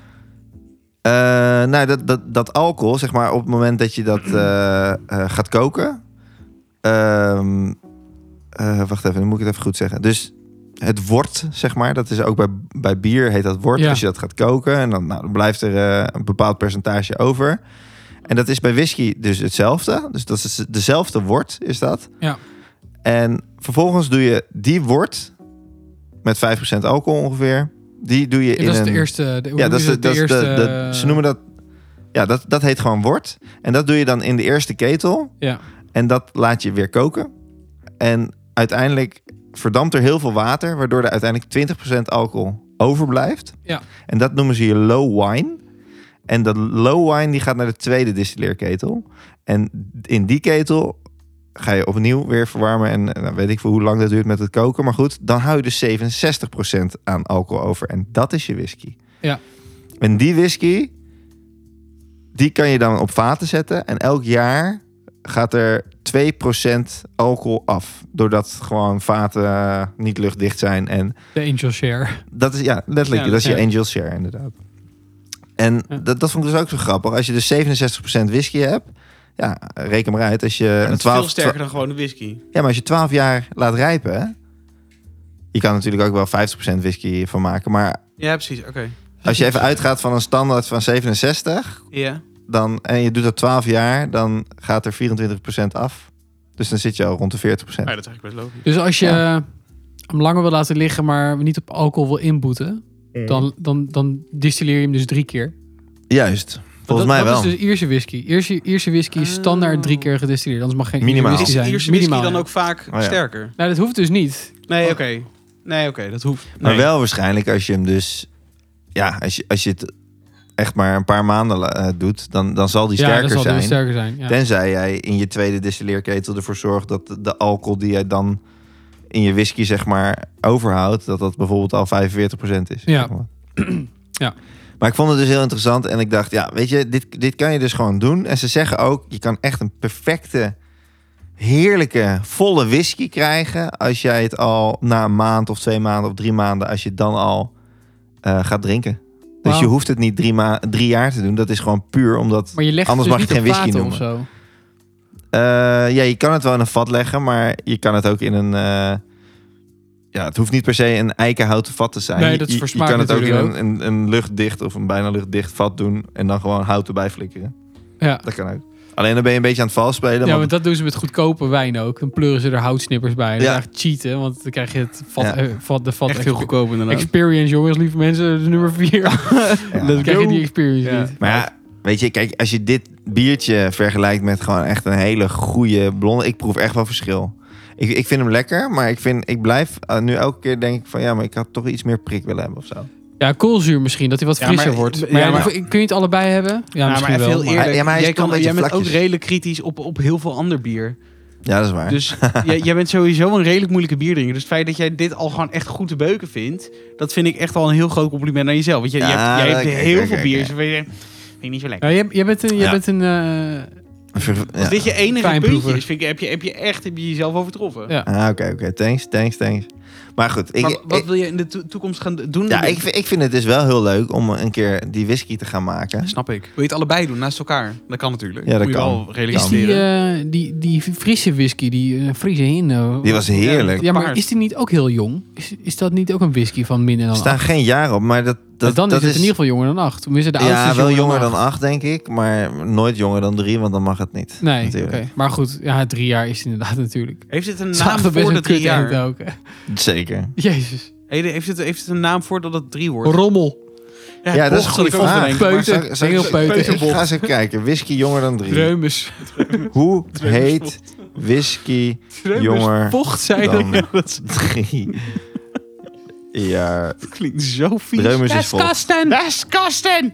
S2: Eh, nou, dat, dat, dat alcohol, zeg maar, op het moment dat je dat eh, eh, gaat koken. Ehm, eh, wacht even, dan moet ik het even goed zeggen. Dus het wort, zeg maar, dat is ook bij, bij bier heet dat wort.
S3: Ja.
S2: Als je dat gaat koken, en dan, nou, dan blijft er eh, een bepaald percentage over. En dat is bij whisky dus hetzelfde. Dus dat is dezelfde wort, is dat.
S3: Ja.
S2: En vervolgens doe je die wort met 5% alcohol ongeveer. Die doe je
S3: Ja,
S2: in
S3: dat is
S2: een...
S3: de eerste. De,
S2: Ja, dat is de, dat is de,
S3: eerste. eh,
S2: de- ze noemen dat. Ja, dat, dat heet gewoon wort. En dat doe je dan in de eerste ketel.
S3: Ja.
S2: En dat laat je weer koken. En uiteindelijk verdampt er heel veel water, waardoor er uiteindelijk 20% alcohol overblijft.
S3: Ja.
S2: En dat noemen ze je low wine. En dat low wine die gaat naar de tweede distilleerketel. En in die ketel ga je opnieuw weer verwarmen. En eh, nou, weet ik veel hoe lang dat duurt met het koken. Maar goed, dan hou je dus 67% aan alcohol over. En dat is je whisky.
S3: Ja.
S2: En die whisky, die kan je dan op vaten zetten. En elk jaar gaat er 2% alcohol af. Doordat gewoon vaten eh, niet luchtdicht zijn. En
S3: De angel share.
S2: dat is ja, letterlijk.
S3: Ja,
S2: dat is je
S3: ja.
S2: angel share, inderdaad. En
S3: Ja.
S2: dat, dat vond ik dus ook zo grappig. Als je dus 67% whisky hebt, ja, reken maar uit. Als je
S1: Dat
S2: een
S1: is
S2: 12,
S1: veel sterker dan gewoon de whisky.
S2: ja, maar als je 12 jaar laat rijpen, hè, je kan natuurlijk ook wel 50% whisky van maken. Maar
S1: Ja, precies. Oké.
S2: als je even uitgaat van een standaard van 67
S1: Ja.
S2: dan, en je doet dat 12 jaar, dan gaat er 24% af. Dus dan zit je al rond de 40%.
S1: Ja, dat is eigenlijk best logisch.
S3: Dus als je hem langer wil laten liggen, maar niet op alcohol wil inboeten,
S2: Mhm.
S3: dan, dan, dan distilleer je hem dus drie keer.
S2: Juist, volgens mij
S3: dat, dat
S2: wel.
S3: is dus Ierse whisky. Ierse, Ierse whisky is standaard
S1: Oh.
S3: drie keer gedistilleerd. Anders mag geen Ierse
S2: Minimaal.
S3: whisky
S1: Is de
S3: zijn.
S1: Ierse whisky
S3: Minimaal,
S1: dan
S3: ja.
S1: ook vaak
S2: Oh, ja.
S1: sterker?
S3: Nou, dat hoeft dus niet.
S1: Nee,
S3: Oh.
S1: oké. Nee, oké. dat hoeft. Nee.
S2: Maar wel waarschijnlijk als je hem dus... Ja, als je, als je het echt maar een paar maanden la- eh, doet, dan, dan zal die
S3: ja,
S2: sterker
S3: dat zal
S2: zijn.
S3: dus sterker zijn. Ja.
S2: Tenzij jij in je tweede distilleerketel ervoor zorgt dat de- de alcohol die jij dan in je whisky zeg maar overhoudt, dat dat bijvoorbeeld al 45% is.
S3: Ja.
S2: zeg maar.
S3: Ja.
S2: Maar ik vond het dus heel interessant en ik dacht, ja, weet je, dit, dit kan je dus gewoon doen. En ze zeggen ook, je kan echt een perfecte, heerlijke, volle whisky krijgen als jij het al na een maand of twee maanden of drie maanden, als je het dan al eh, gaat ddrinken. Dus
S3: Wauw.
S2: je hoeft het niet drie, ma- drie jaar te doen. Dat is gewoon puur omdat
S3: Maar je legt
S2: Anders
S3: het
S2: mag
S3: dus
S2: je
S3: niet
S2: geen
S3: op
S2: whisky
S3: vaten of zo.
S2: eh, ja, je kan het wel in een vat leggen, maar je kan het ook in een. eh, ja, het hoeft niet per se een eikenhouten vat te zijn.
S3: Nee, dat is
S2: Je-
S3: voor
S2: je,
S3: smaak
S2: kan het ook in
S3: natuurlijk
S2: een, een, een luchtdicht of een bijna luchtdicht vat doen en dan gewoon hout erbij flikkeren.
S3: Ja.
S2: Dat kan ook. Alleen dan ben je een beetje aan het vals spelen.
S3: Ja,
S2: want-
S3: want dat doen ze met goedkope wijn ook. Dan pleuren ze er houtsnippers bij. Dat
S2: Ja.
S3: is echt cheaten, want dan krijg je het vat,
S2: Ja.
S3: eh, vat, de vat
S1: echt heel
S3: expe-
S1: goedkoop inderdaad.
S3: Experience, jongens, lieve mensen, de nummer vier. dan krijg je die experience
S1: Ja.
S3: niet.
S2: Maar ja, weet je, kijk, als je dit biertje vergelijkt met gewoon echt een hele goede blonde, ik proef echt wel verschil. Ik, ik vind hem lekker, maar ik, vind, ik blijf eh, nu elke keer denk ik van ja, maar ik had toch iets meer prik willen hebben of zo.
S3: Ja, koolzuur misschien, dat hij wat
S1: Ja,
S3: frisser
S1: maar-
S3: wordt.
S1: ja,
S3: Maar, ja,
S1: maar-
S3: die- kun je het allebei hebben? Ja,
S1: Ja, Nou, maar
S3: misschien
S1: even
S3: wel.
S1: heel
S3: maar-
S1: eerlijk.
S2: Ja, maar hij is
S1: jij,
S2: toch een
S1: kan,
S2: beetje
S1: jij bent ook
S2: vlakjes.
S1: redelijk kritisch op, op heel veel ander bier.
S2: Ja, dat is waar.
S1: Dus jij, jij bent sowieso een redelijk moeilijke bierdrinker. Dus het feit dat jij dit al gewoon echt goed te beuken vindt, dat vind ik echt al een heel groot compliment aan jezelf. Want jij, jij
S2: Ja,
S1: hebt, jij
S2: dat-
S1: hebt
S2: kijk,
S1: heel
S2: kijk,
S1: veel
S2: kijk,
S1: bier.
S2: kijk.
S1: vind je- vind ik niet zo lekker.
S3: Ja, jij, jij bent een... Jij
S2: Ja.
S3: bent een eh,
S1: Als
S2: Ja.
S1: dit je enige
S3: Fijnproever.
S1: puntje is, vind ik, heb, je, heb je echt heb je jezelf overtroffen.
S3: Ja.
S2: Ah, oké, oké. Thanks, thanks, thanks. Maar goed, ik,
S1: Maar wat
S2: ik-
S1: wil je in de to- toekomst gaan doen?
S2: ja, ik, vind- ik vind het dus wel heel leuk om een keer die whisky te gaan maken.
S1: Snap ik. Wil je het allebei doen naast elkaar? Dat kan natuurlijk.
S2: Ja, dat
S1: Moet je
S2: kan.
S1: wel
S3: is die,
S1: realiseren.
S3: eh, die, die frisse whisky, die eh, Friese Hino...
S2: Die was heerlijk.
S3: Ja, maar
S1: Paard.
S3: is die niet ook heel jong? Is, is dat niet ook een whisky van minder
S2: Er
S3: dan
S2: staan
S3: acht?
S2: geen jaar op, maar dat, dat,
S3: Dat, dan
S2: dat
S3: is het in ieder geval jonger dan acht. Tenminste, de oudste
S2: Ja,
S3: is
S2: wel jonger
S3: acht.
S2: dan acht, denk ik. Maar nooit jonger dan drie, want dan mag het niet.
S3: Nee, oké.
S2: natuurlijk.
S3: Maar goed, ja, drie jaar is het inderdaad natuurlijk.
S1: Heeft het een
S3: Het
S1: naam
S3: zagen best
S1: voor de
S3: een
S1: drie
S3: kut
S1: jaar?
S3: jaar. ook.
S2: Zeker.
S3: Jezus.
S1: Hey, Heeft het, heeft het een naam voor dat het drie wordt?
S3: Rommel.
S2: Ja, dat
S1: bocht
S2: is een
S1: zat
S2: goede
S1: ik ook te
S2: vraag.
S1: denken.
S2: Maar
S3: Peuter.
S2: zal- zal-
S3: Heel
S2: zal-
S3: peuter.
S2: Ik ga eens even kijken. Whisky jonger dan drie.
S3: Dreumes.
S2: Hoe heet whisky jonger
S3: Vocht zijn
S2: dan
S3: er.
S2: drie jaar?
S1: Dat klinkt zo vies.
S2: Dreumes is vol.
S3: Westkasten.
S1: Dat is Karsten!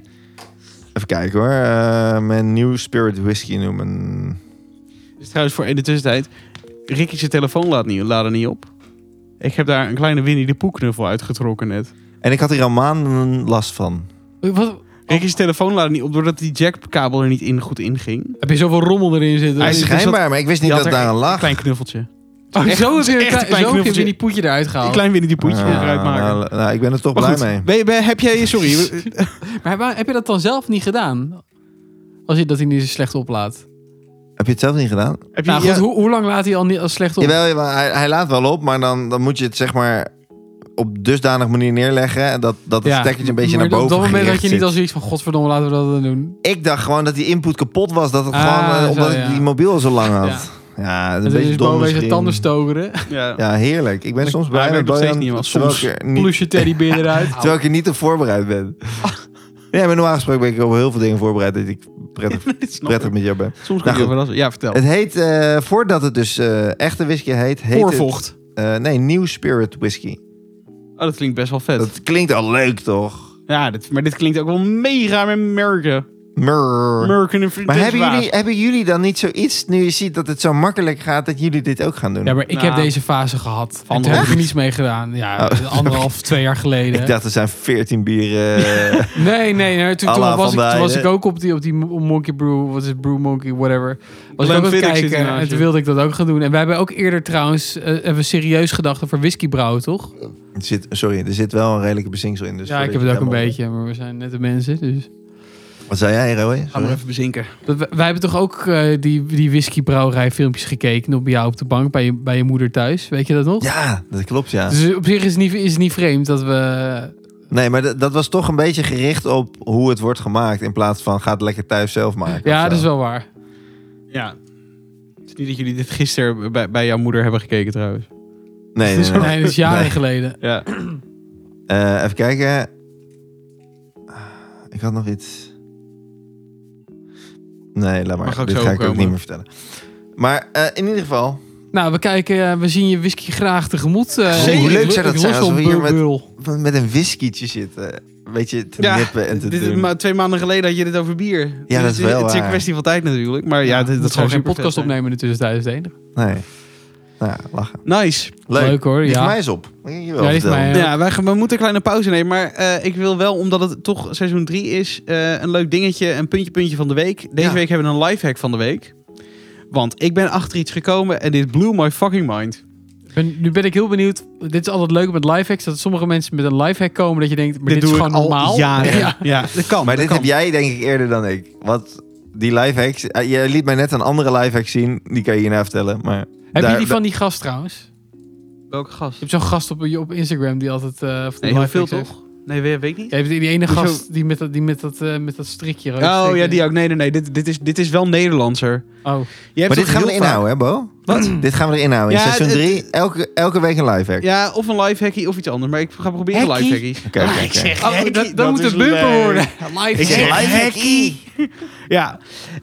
S2: Even kijken hoor. Eh, mijn New Spirit Whisky noemen.
S1: Dus trouwens, voor in de tussentijd. Ricky zijn telefoon laat niet, laden niet op. Ik heb daar een kleine Winnie de Pooh knuffel uitgetrokken net.
S2: En ik had hier al maanden last van.
S3: Wat?
S1: Ricky zijn telefoon laadde niet op doordat die jackkabel er niet in, goed inging.
S3: Heb je zoveel rommel erin zitten?
S2: Hij
S1: is
S2: is
S1: dus
S2: schijnbaar, maar ik wist niet
S1: Die
S2: dat
S1: had er
S2: daar aan
S1: Een
S2: lag.
S1: klein knuffeltje.
S3: Oh,
S1: Echt-
S3: zo heb je
S1: echt
S3: een
S1: een
S3: klein,
S1: klein
S3: zo heb je
S1: knuffeltje.
S3: die poetje eruit
S1: Een
S3: gehaald.
S1: klein Winnie de Poohje
S2: Ah,
S1: eruit maken.
S2: nou, nou, ik ben er toch
S1: Maar
S2: blij
S1: goed.
S2: mee.
S1: Ben je- ben- heb jij... Sorry.
S3: Maar waar- heb je dat dan zelf niet gedaan? Als je dat hij niet zo slecht oplaat.
S2: Heb je het zelf niet gedaan?
S1: heb je,
S3: Nou
S1: ja,
S3: goed, hoe, hoe lang laat hij al niet als slecht op?
S2: Jawel, jawel, hij, hij laat wel op, maar dan, dan moet je het zeg maar op dusdanig manier neerleggen dat, dat het stekkertje een beetje
S3: maar
S2: naar boven
S3: Op dat moment
S2: gericht
S3: had je niet
S2: zit.
S3: als iets van godverdomme laten we dat dan doen.
S2: Ik dacht gewoon dat die input kapot was, dat het
S3: Ah,
S2: gewoon, eh,
S3: zo,
S2: omdat ik
S3: ja.
S2: die mobiel al zo lang had.
S3: Ja.
S2: Ja, een
S3: Dat
S2: beetje
S3: is dus
S2: dom
S3: boven zijn
S2: misschien.
S3: tanden stokeren.
S1: ja.
S2: Ja, heerlijk. Ik ben
S1: Maar
S2: soms
S1: hij
S2: blij
S1: werkt
S2: met
S1: nog steeds
S2: Bojan,
S1: niet, want
S2: terwijl
S1: soms
S2: ik er niet-
S3: Plusje teddybeer eruit.
S2: Terwijl ik er niet op voorbereid ben. Ja, maar normaal gesproken ben ik op heel veel dingen voorbereid dat ik prettig,
S1: Dit snap ik.
S2: prettig met jou ben.
S1: Soms kan
S2: Nou,
S1: je
S2: goed.
S1: verrassen. Ja, vertel.
S2: Het heet, eh, voordat het dus eh, echte whisky heet, heet het...
S1: Oorvocht.
S2: eh, nee, New Spirit Whisky.
S1: Oké. Oh, dat klinkt best wel vet.
S2: Dat klinkt al leuk, toch?
S1: Ja, dit, maar dit klinkt ook wel mega met merken.
S2: Murr.
S1: Merken en
S2: Maar hebben
S1: vriendinswaas.
S2: jullie, hebben jullie dan niet zoiets, nu je ziet dat het zo makkelijk gaat, dat jullie dit ook gaan doen?
S3: Ja, maar ik
S1: Nou.
S3: heb deze fase gehad. En toen
S1: Echt?
S3: heb ik er niets mee gedaan. Ja,
S2: Oh.
S3: anderhalf, twee jaar geleden.
S2: Ik dacht, er zijn 14 bieren. eh,
S3: Nee, nee, nee. Toen,
S2: Alla
S3: toen was,
S2: Van
S3: ik, toen
S2: Dijnen.
S3: was ik ook op die, op die Monkey Brew, wat is het, Brew Monkey, whatever. Was
S1: Glenn
S3: ik ook aan het
S1: Fiddich zit
S3: kijken
S1: ernaast
S3: en
S1: je.
S3: toen wilde ik dat ook gaan doen. En wij hebben ook eerder trouwens, eh, hebben we serieus gedacht over whiskybrouwen, toch?
S2: er zit, sorry, er zit wel een redelijke bezinksel in. Dus
S3: ja, ik heb
S2: voordat
S3: het
S2: je
S3: ook een
S2: helemaal-
S3: beetje, maar we zijn nette mensen, dus...
S2: Wat zei jij, Roy?
S1: Ga maar
S2: Sorry.
S1: even bezinken.
S3: Dat, wij, wij hebben toch ook eh, die, die whiskybrouwerij filmpjes gekeken op bij jou op de bank, bij je, bij je moeder thuis, weet je dat nog?
S2: Ja, dat klopt, ja.
S3: Dus op zich is het niet, is het niet vreemd dat we...
S2: Nee, maar dat dat was toch een beetje gericht op hoe het wordt gemaakt. In plaats van, ga het lekker thuis zelf maken.
S3: Ja,
S2: of zo.
S3: dat is wel waar.
S1: Ja. Het is niet dat jullie dit gisteren bij, bij jouw moeder hebben gekeken trouwens.
S2: Nee, nee, nee.
S3: Nee, dat is jaren
S2: Nee.
S3: geleden.
S1: Ja.
S2: Eh, even kijken. Ik had nog iets. Nee, laat maar.
S1: Mag ook
S2: Dit
S1: zo
S2: ga ik ook
S1: komen.
S2: niet meer vertellen. Maar eh, in ieder geval,
S3: Nou, we kijken, eh, we zien je whisky graag tegemoet. eh.
S1: Zeker. Hoe
S2: leuk zou dat
S3: Ik
S2: zijn
S3: los
S2: als we
S3: zo'n
S2: hier met-
S3: bubbel.
S2: met een whiskietje zitten. Een beetje te nippen en te
S1: dit, is
S2: doen.
S1: maar twee maanden geleden had je dit over bier.
S2: dat
S1: Dus
S2: is
S1: het-
S2: wel
S1: Het is een
S2: waar.
S1: kwestie van tijd natuurlijk. Maar ja,
S3: Ja,
S1: dit- dat
S3: dat
S1: zou
S3: gewoon geen
S1: supervet
S3: podcast
S1: zijn.
S3: opnemen in de tussentijd is het enige.
S2: Nee. Nou, ja, lachen.
S1: Nice.
S2: Leuk.
S3: Leuk hoor,
S2: Licht
S3: ja.
S2: mij eens op. Mag ik je wel
S3: Ja, licht
S2: vertellen?
S3: mij,
S1: Ja, wij, gaan- we moeten een kleine pauze nemen. Maar eh, ik wil wel, omdat het toch seizoen 3 is, eh, een leuk dingetje, een puntje, puntje van de week. Deze
S2: Ja.
S1: week hebben we een lifehack van de week. Want ik ben achter iets gekomen en dit blew my fucking mind.
S3: Ben- nu ben ik heel benieuwd. Dit is altijd leuk met lifehacks. Dat sommige mensen met een lifehack komen. Dat je denkt, maar dit, is
S1: doe
S3: gewoon
S1: ik al
S3: normaal.
S1: jaren. Ja.
S3: Ja.
S1: dat kan.
S2: Maar
S1: dat
S2: dit
S1: kan.
S2: heb jij denk ik eerder dan ik. Want die lifehacks... hacks. jij liet mij net een andere lifehack zien. Die kan je hierna vertellen. Maar
S3: Heb
S2: Daar-
S3: je die
S2: daar-
S3: van die gast trouwens?
S1: Welke gast?
S3: Je hebt zo'n gast op, op Instagram die altijd... eh van die
S1: Nee, heel
S3: lifehacks
S1: veel
S3: heeft.
S1: toch? Nee, weet, weet ik niet.
S3: Je hebt die, die ene
S1: Hoezo?
S3: gast die met dat, die met dat, eh, met dat strikje. rood
S1: Oh ja,
S3: strikje.
S1: die ook. Nee, nee, nee. Dit, dit, is, dit is wel Nederlandser.
S3: Oh.
S1: Je hebt
S2: maar dit
S1: toch
S2: gaan we
S1: heel
S2: erin
S1: vaak-
S2: houden, hè, Bo?
S1: Wat?
S2: Dit gaan we erin houden. In
S1: Ja,
S2: seizoen
S1: het-
S2: 3, elke, elke week een lifehack.
S1: Ja, of een lifehackie of iets anders. Maar ik ga proberen
S2: Hackie?
S1: lifehackie.
S2: Oké, oké, oké.
S3: Oh, dat, dat, moet het bumper worden. Live.
S1: Ik zeg
S3: hack.
S2: lifehackie.
S1: Ja.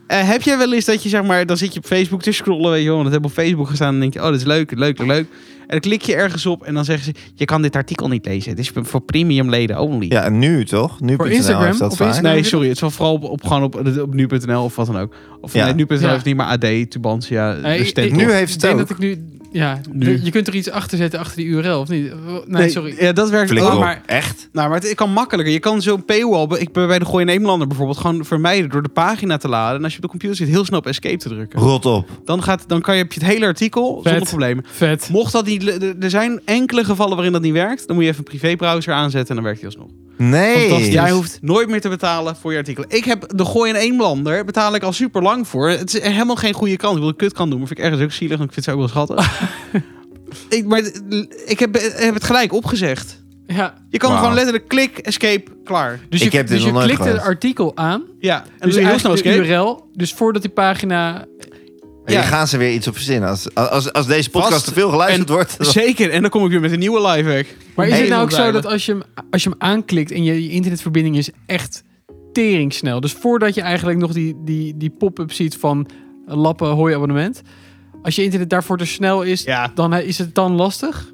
S1: Eh, heb jij wel eens dat je, zeg maar, dan zit je op Facebook te scrollen, weet je wel. Want dat hebben we op Facebook gestaan. En dan denk je, oh, dit is leuk, leuk, leuk, leuk. En dan klik je ergens op en dan zeggen ze, je kan dit artikel niet lezen. Het is voor premium leden only. Dus
S2: Ja, en nu toch? Nu
S3: Voor Instagram?
S2: heeft dat
S3: Op
S2: vaak.
S3: Instagram?
S1: Nee, sorry. Het is wel vooral op, op- gewoon op, op nu.nl of wat dan ook. Of
S2: Ja.
S1: nee, nu.nl
S3: Ja.
S1: heeft niet, maar AD, Tubantia,
S3: Nee,
S1: de
S3: ik-
S1: Stempel.
S3: ik-
S2: Nu heeft
S3: ik
S2: het
S3: denk
S2: ook.
S3: dat ik nu. Ja,
S1: Nu.
S3: je kunt er iets achter zetten achter die URL, of niet? Oh, Nee,
S1: Nee,
S3: sorry.
S1: Ja, dat werkt
S2: Flikker
S1: ook.
S2: op.
S1: Maar
S2: Echt?
S1: Nou, maar het kan makkelijker. Je kan zo'n paywall, be- ik ben bij de Gooi Nederlander bijvoorbeeld, gewoon vermijden door de pagina te laden. En als je op de computer zit, heel snel op escape te drukken.
S2: Rot op.
S1: Dan, gaat, dan kan je, heb je het hele artikel zonder problemen.
S3: Vet.
S1: Mocht dat niet, le- er- er zijn enkele gevallen waarin dat niet werkt, dan moet je even een privébrowser aanzetten en dan werkt hij alsnog.
S2: Nee.
S3: Fantastisch.
S1: Jij hoeft nooit meer te betalen voor je artikel. Ik heb de Gooi Nederlander, betaal ik al super lang voor. Het is helemaal geen goede kans. Ik wil het kut kan doen, maar vind ik ergens ook zielig, want ik vind het ook wel schattig. ik, maar het- ik heb, heb het gelijk opgezegd.
S3: Ja.
S1: Je kan
S2: Wauw.
S1: gewoon letterlijk klik, escape, klaar.
S3: Dus
S2: Ik
S3: je,
S2: heb dit
S3: dus je
S2: nog nooit
S3: klikt het
S2: gehad.
S3: artikel aan.
S1: Ja, en
S3: Dus
S1: dus heel snel
S3: eigenlijk de
S1: escape.
S3: URL. Dus voordat die pagina.
S1: Ja.
S2: Hier gaan ze weer iets op verzinnen. Als, als, als deze podcast
S1: Vast.
S2: te veel geluisterd
S1: En-
S2: wordt. dan-
S1: Zeker, en dan kom ik weer met een nieuwe live hack.
S3: Maar is het nou ook zo
S1: Helemaal
S3: dat als je hem, als je hem aanklikt en je, je internetverbinding is echt teringsnel. Dus voordat je eigenlijk nog die, die, die pop-up ziet van lappen hooi abonnement. Als je internet daarvoor te snel is,
S1: Ja.
S3: dan eh, is het dan lastig.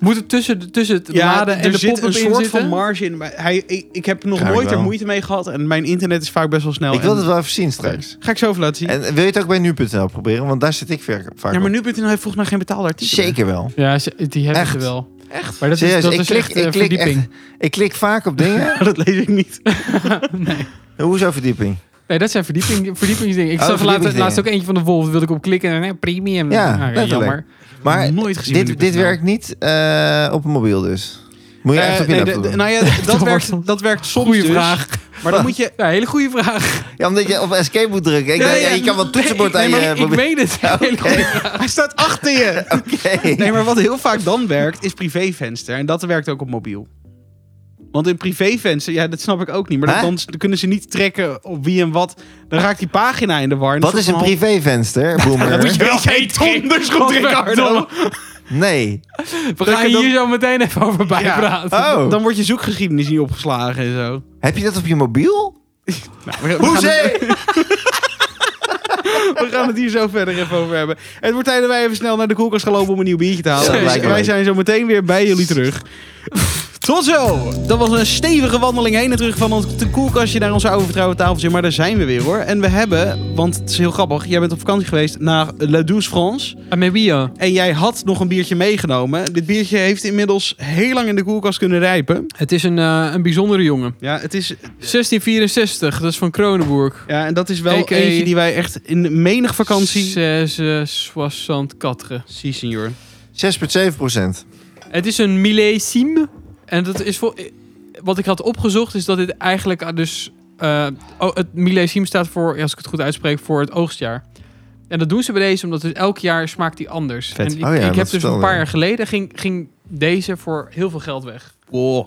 S3: Moet het tussen, de- tussen het
S1: Ja,
S3: laden en
S1: er
S3: de
S1: zit
S3: pop-up
S1: een
S3: in
S1: soort
S3: zitten?
S1: van marge in. Maar Hij, ik, ik heb nog
S2: Ja, ik
S1: nooit er
S2: wel.
S1: moeite mee gehad en mijn internet is vaak best wel snel.
S2: Ik wil
S1: en-
S2: het wel even zien straks.
S1: Ga ik zo even laten zien.
S2: En wil je het ook bij nu.nl proberen? Want daar zit ik ver- vaak
S1: ja, maar
S2: op.
S1: nu.nl heeft volgens mij geen betaalde artikelen.
S2: Zeker wel.
S3: Ja, ze- die hebben
S2: Echt?
S3: ze wel. Echt? Maar dat
S2: Serieus,
S3: is, dat
S2: ik,
S3: is
S2: klik,
S3: echt eh,
S2: ik, klik
S3: verdieping.
S2: echt- ik klik vaak op dingen.
S1: dat lees ik niet.
S3: nee.
S2: Hoezo verdieping?
S3: nee, dat zijn verdieping, verdiepingsdingen.
S2: Oh,
S3: Ik zag laatst,
S2: verdiepingsdingen.
S3: laatst ook eentje van de Wolf, daar wilde ik op klikken. En, nee, premium.
S2: Ja,
S3: Ah,
S2: letterlijk.
S3: jammer.
S2: Maar
S1: nooit gezien bij
S2: dit, dit
S1: nu.nl.
S2: werkt niet eh, op een mobiel dus. Moet je echt
S1: Eh,
S2: op je
S1: nee,
S2: laptop
S1: de-
S2: doen.
S1: nou ja, d- dat,
S3: Dat
S1: werkt,
S3: wordt-
S1: dat werkt soms
S3: Goeie
S1: dus.
S3: vraag.
S1: Maar dan moet je...
S3: Ja, hele goede vraag.
S2: Ja, omdat je op escape moet drukken. Ik
S1: Ja,
S2: dacht,
S1: ja,
S2: ja, je kan wel toetsenbord
S3: nee,
S2: aan
S3: maar
S2: je
S3: ik- ik
S2: mobiel-
S3: weet het. Hele goeie-
S1: Hij staat achter je!
S2: Oké.
S1: Nee, maar wat heel vaak dan werkt, is privévenster. En dat werkt ook op mobiel. Want in privévenster, ja, dat snap ik ook niet. Maar
S2: Hè?
S1: dan, dan kunnen ze niet trekken op wie en wat. Dan raakt die pagina in de war. En
S2: Wat
S1: soort
S2: is een
S1: van-
S2: privévenster,
S1: Dan moet
S2: boomer?
S1: je wel geen donders dus goed, Ricardo.
S2: Nee.
S3: We gaan
S1: Dan-
S3: hier zo meteen even over bijpraten.
S2: Oh.
S1: Dan wordt je zoekgeschiedenis niet opgeslagen en zo.
S2: Heb je dat op je mobiel?
S1: Nou, we- we gaan-
S2: Hoezé!
S1: we gaan het hier zo verder even over hebben. Het wordt tijd dat wij even snel naar de koelkast gaan lopen om een nieuw biertje te halen.
S2: Ja, dat lijkt me
S1: wij
S2: leuk.
S1: zijn zo meteen weer bij jullie terug. Tot zo! Dat was een stevige wandeling heen en terug van ons de koelkastje naar onze oude vertrouwde tafeltje. Maar daar zijn we weer hoor. En we hebben, want het is heel grappig, jij bent op vakantie geweest naar La Douce France.
S3: Amebia.
S1: En jij had nog een biertje meegenomen. Dit biertje heeft inmiddels heel lang in de koelkast kunnen rijpen.
S3: Het is een, eh, een bijzondere jongen.
S1: Ja, het is,
S3: 1664, dat is van Kronenburg.
S1: ja, en dat is wel
S3: A.k.a.
S1: eentje die wij echt in menig vakantie...
S3: eh, 64.
S1: Zie, senor.
S2: 6,7 procent.
S3: Het is een millésime. En dat is voor. Wat ik had opgezocht is dat dit eigenlijk ah, dus. eh, oh, het millésime staat voor, ja, als ik het goed uitspreek, voor het oogstjaar. En dat doen ze bij deze, omdat dus elk jaar smaakt die anders.
S1: Vet.
S3: En ik,
S2: Oh ja,
S3: ik
S2: dat
S3: heb dus een
S2: vertelde
S3: paar
S2: je.
S3: jaar geleden ging, ging deze voor heel veel geld weg.
S1: Oh.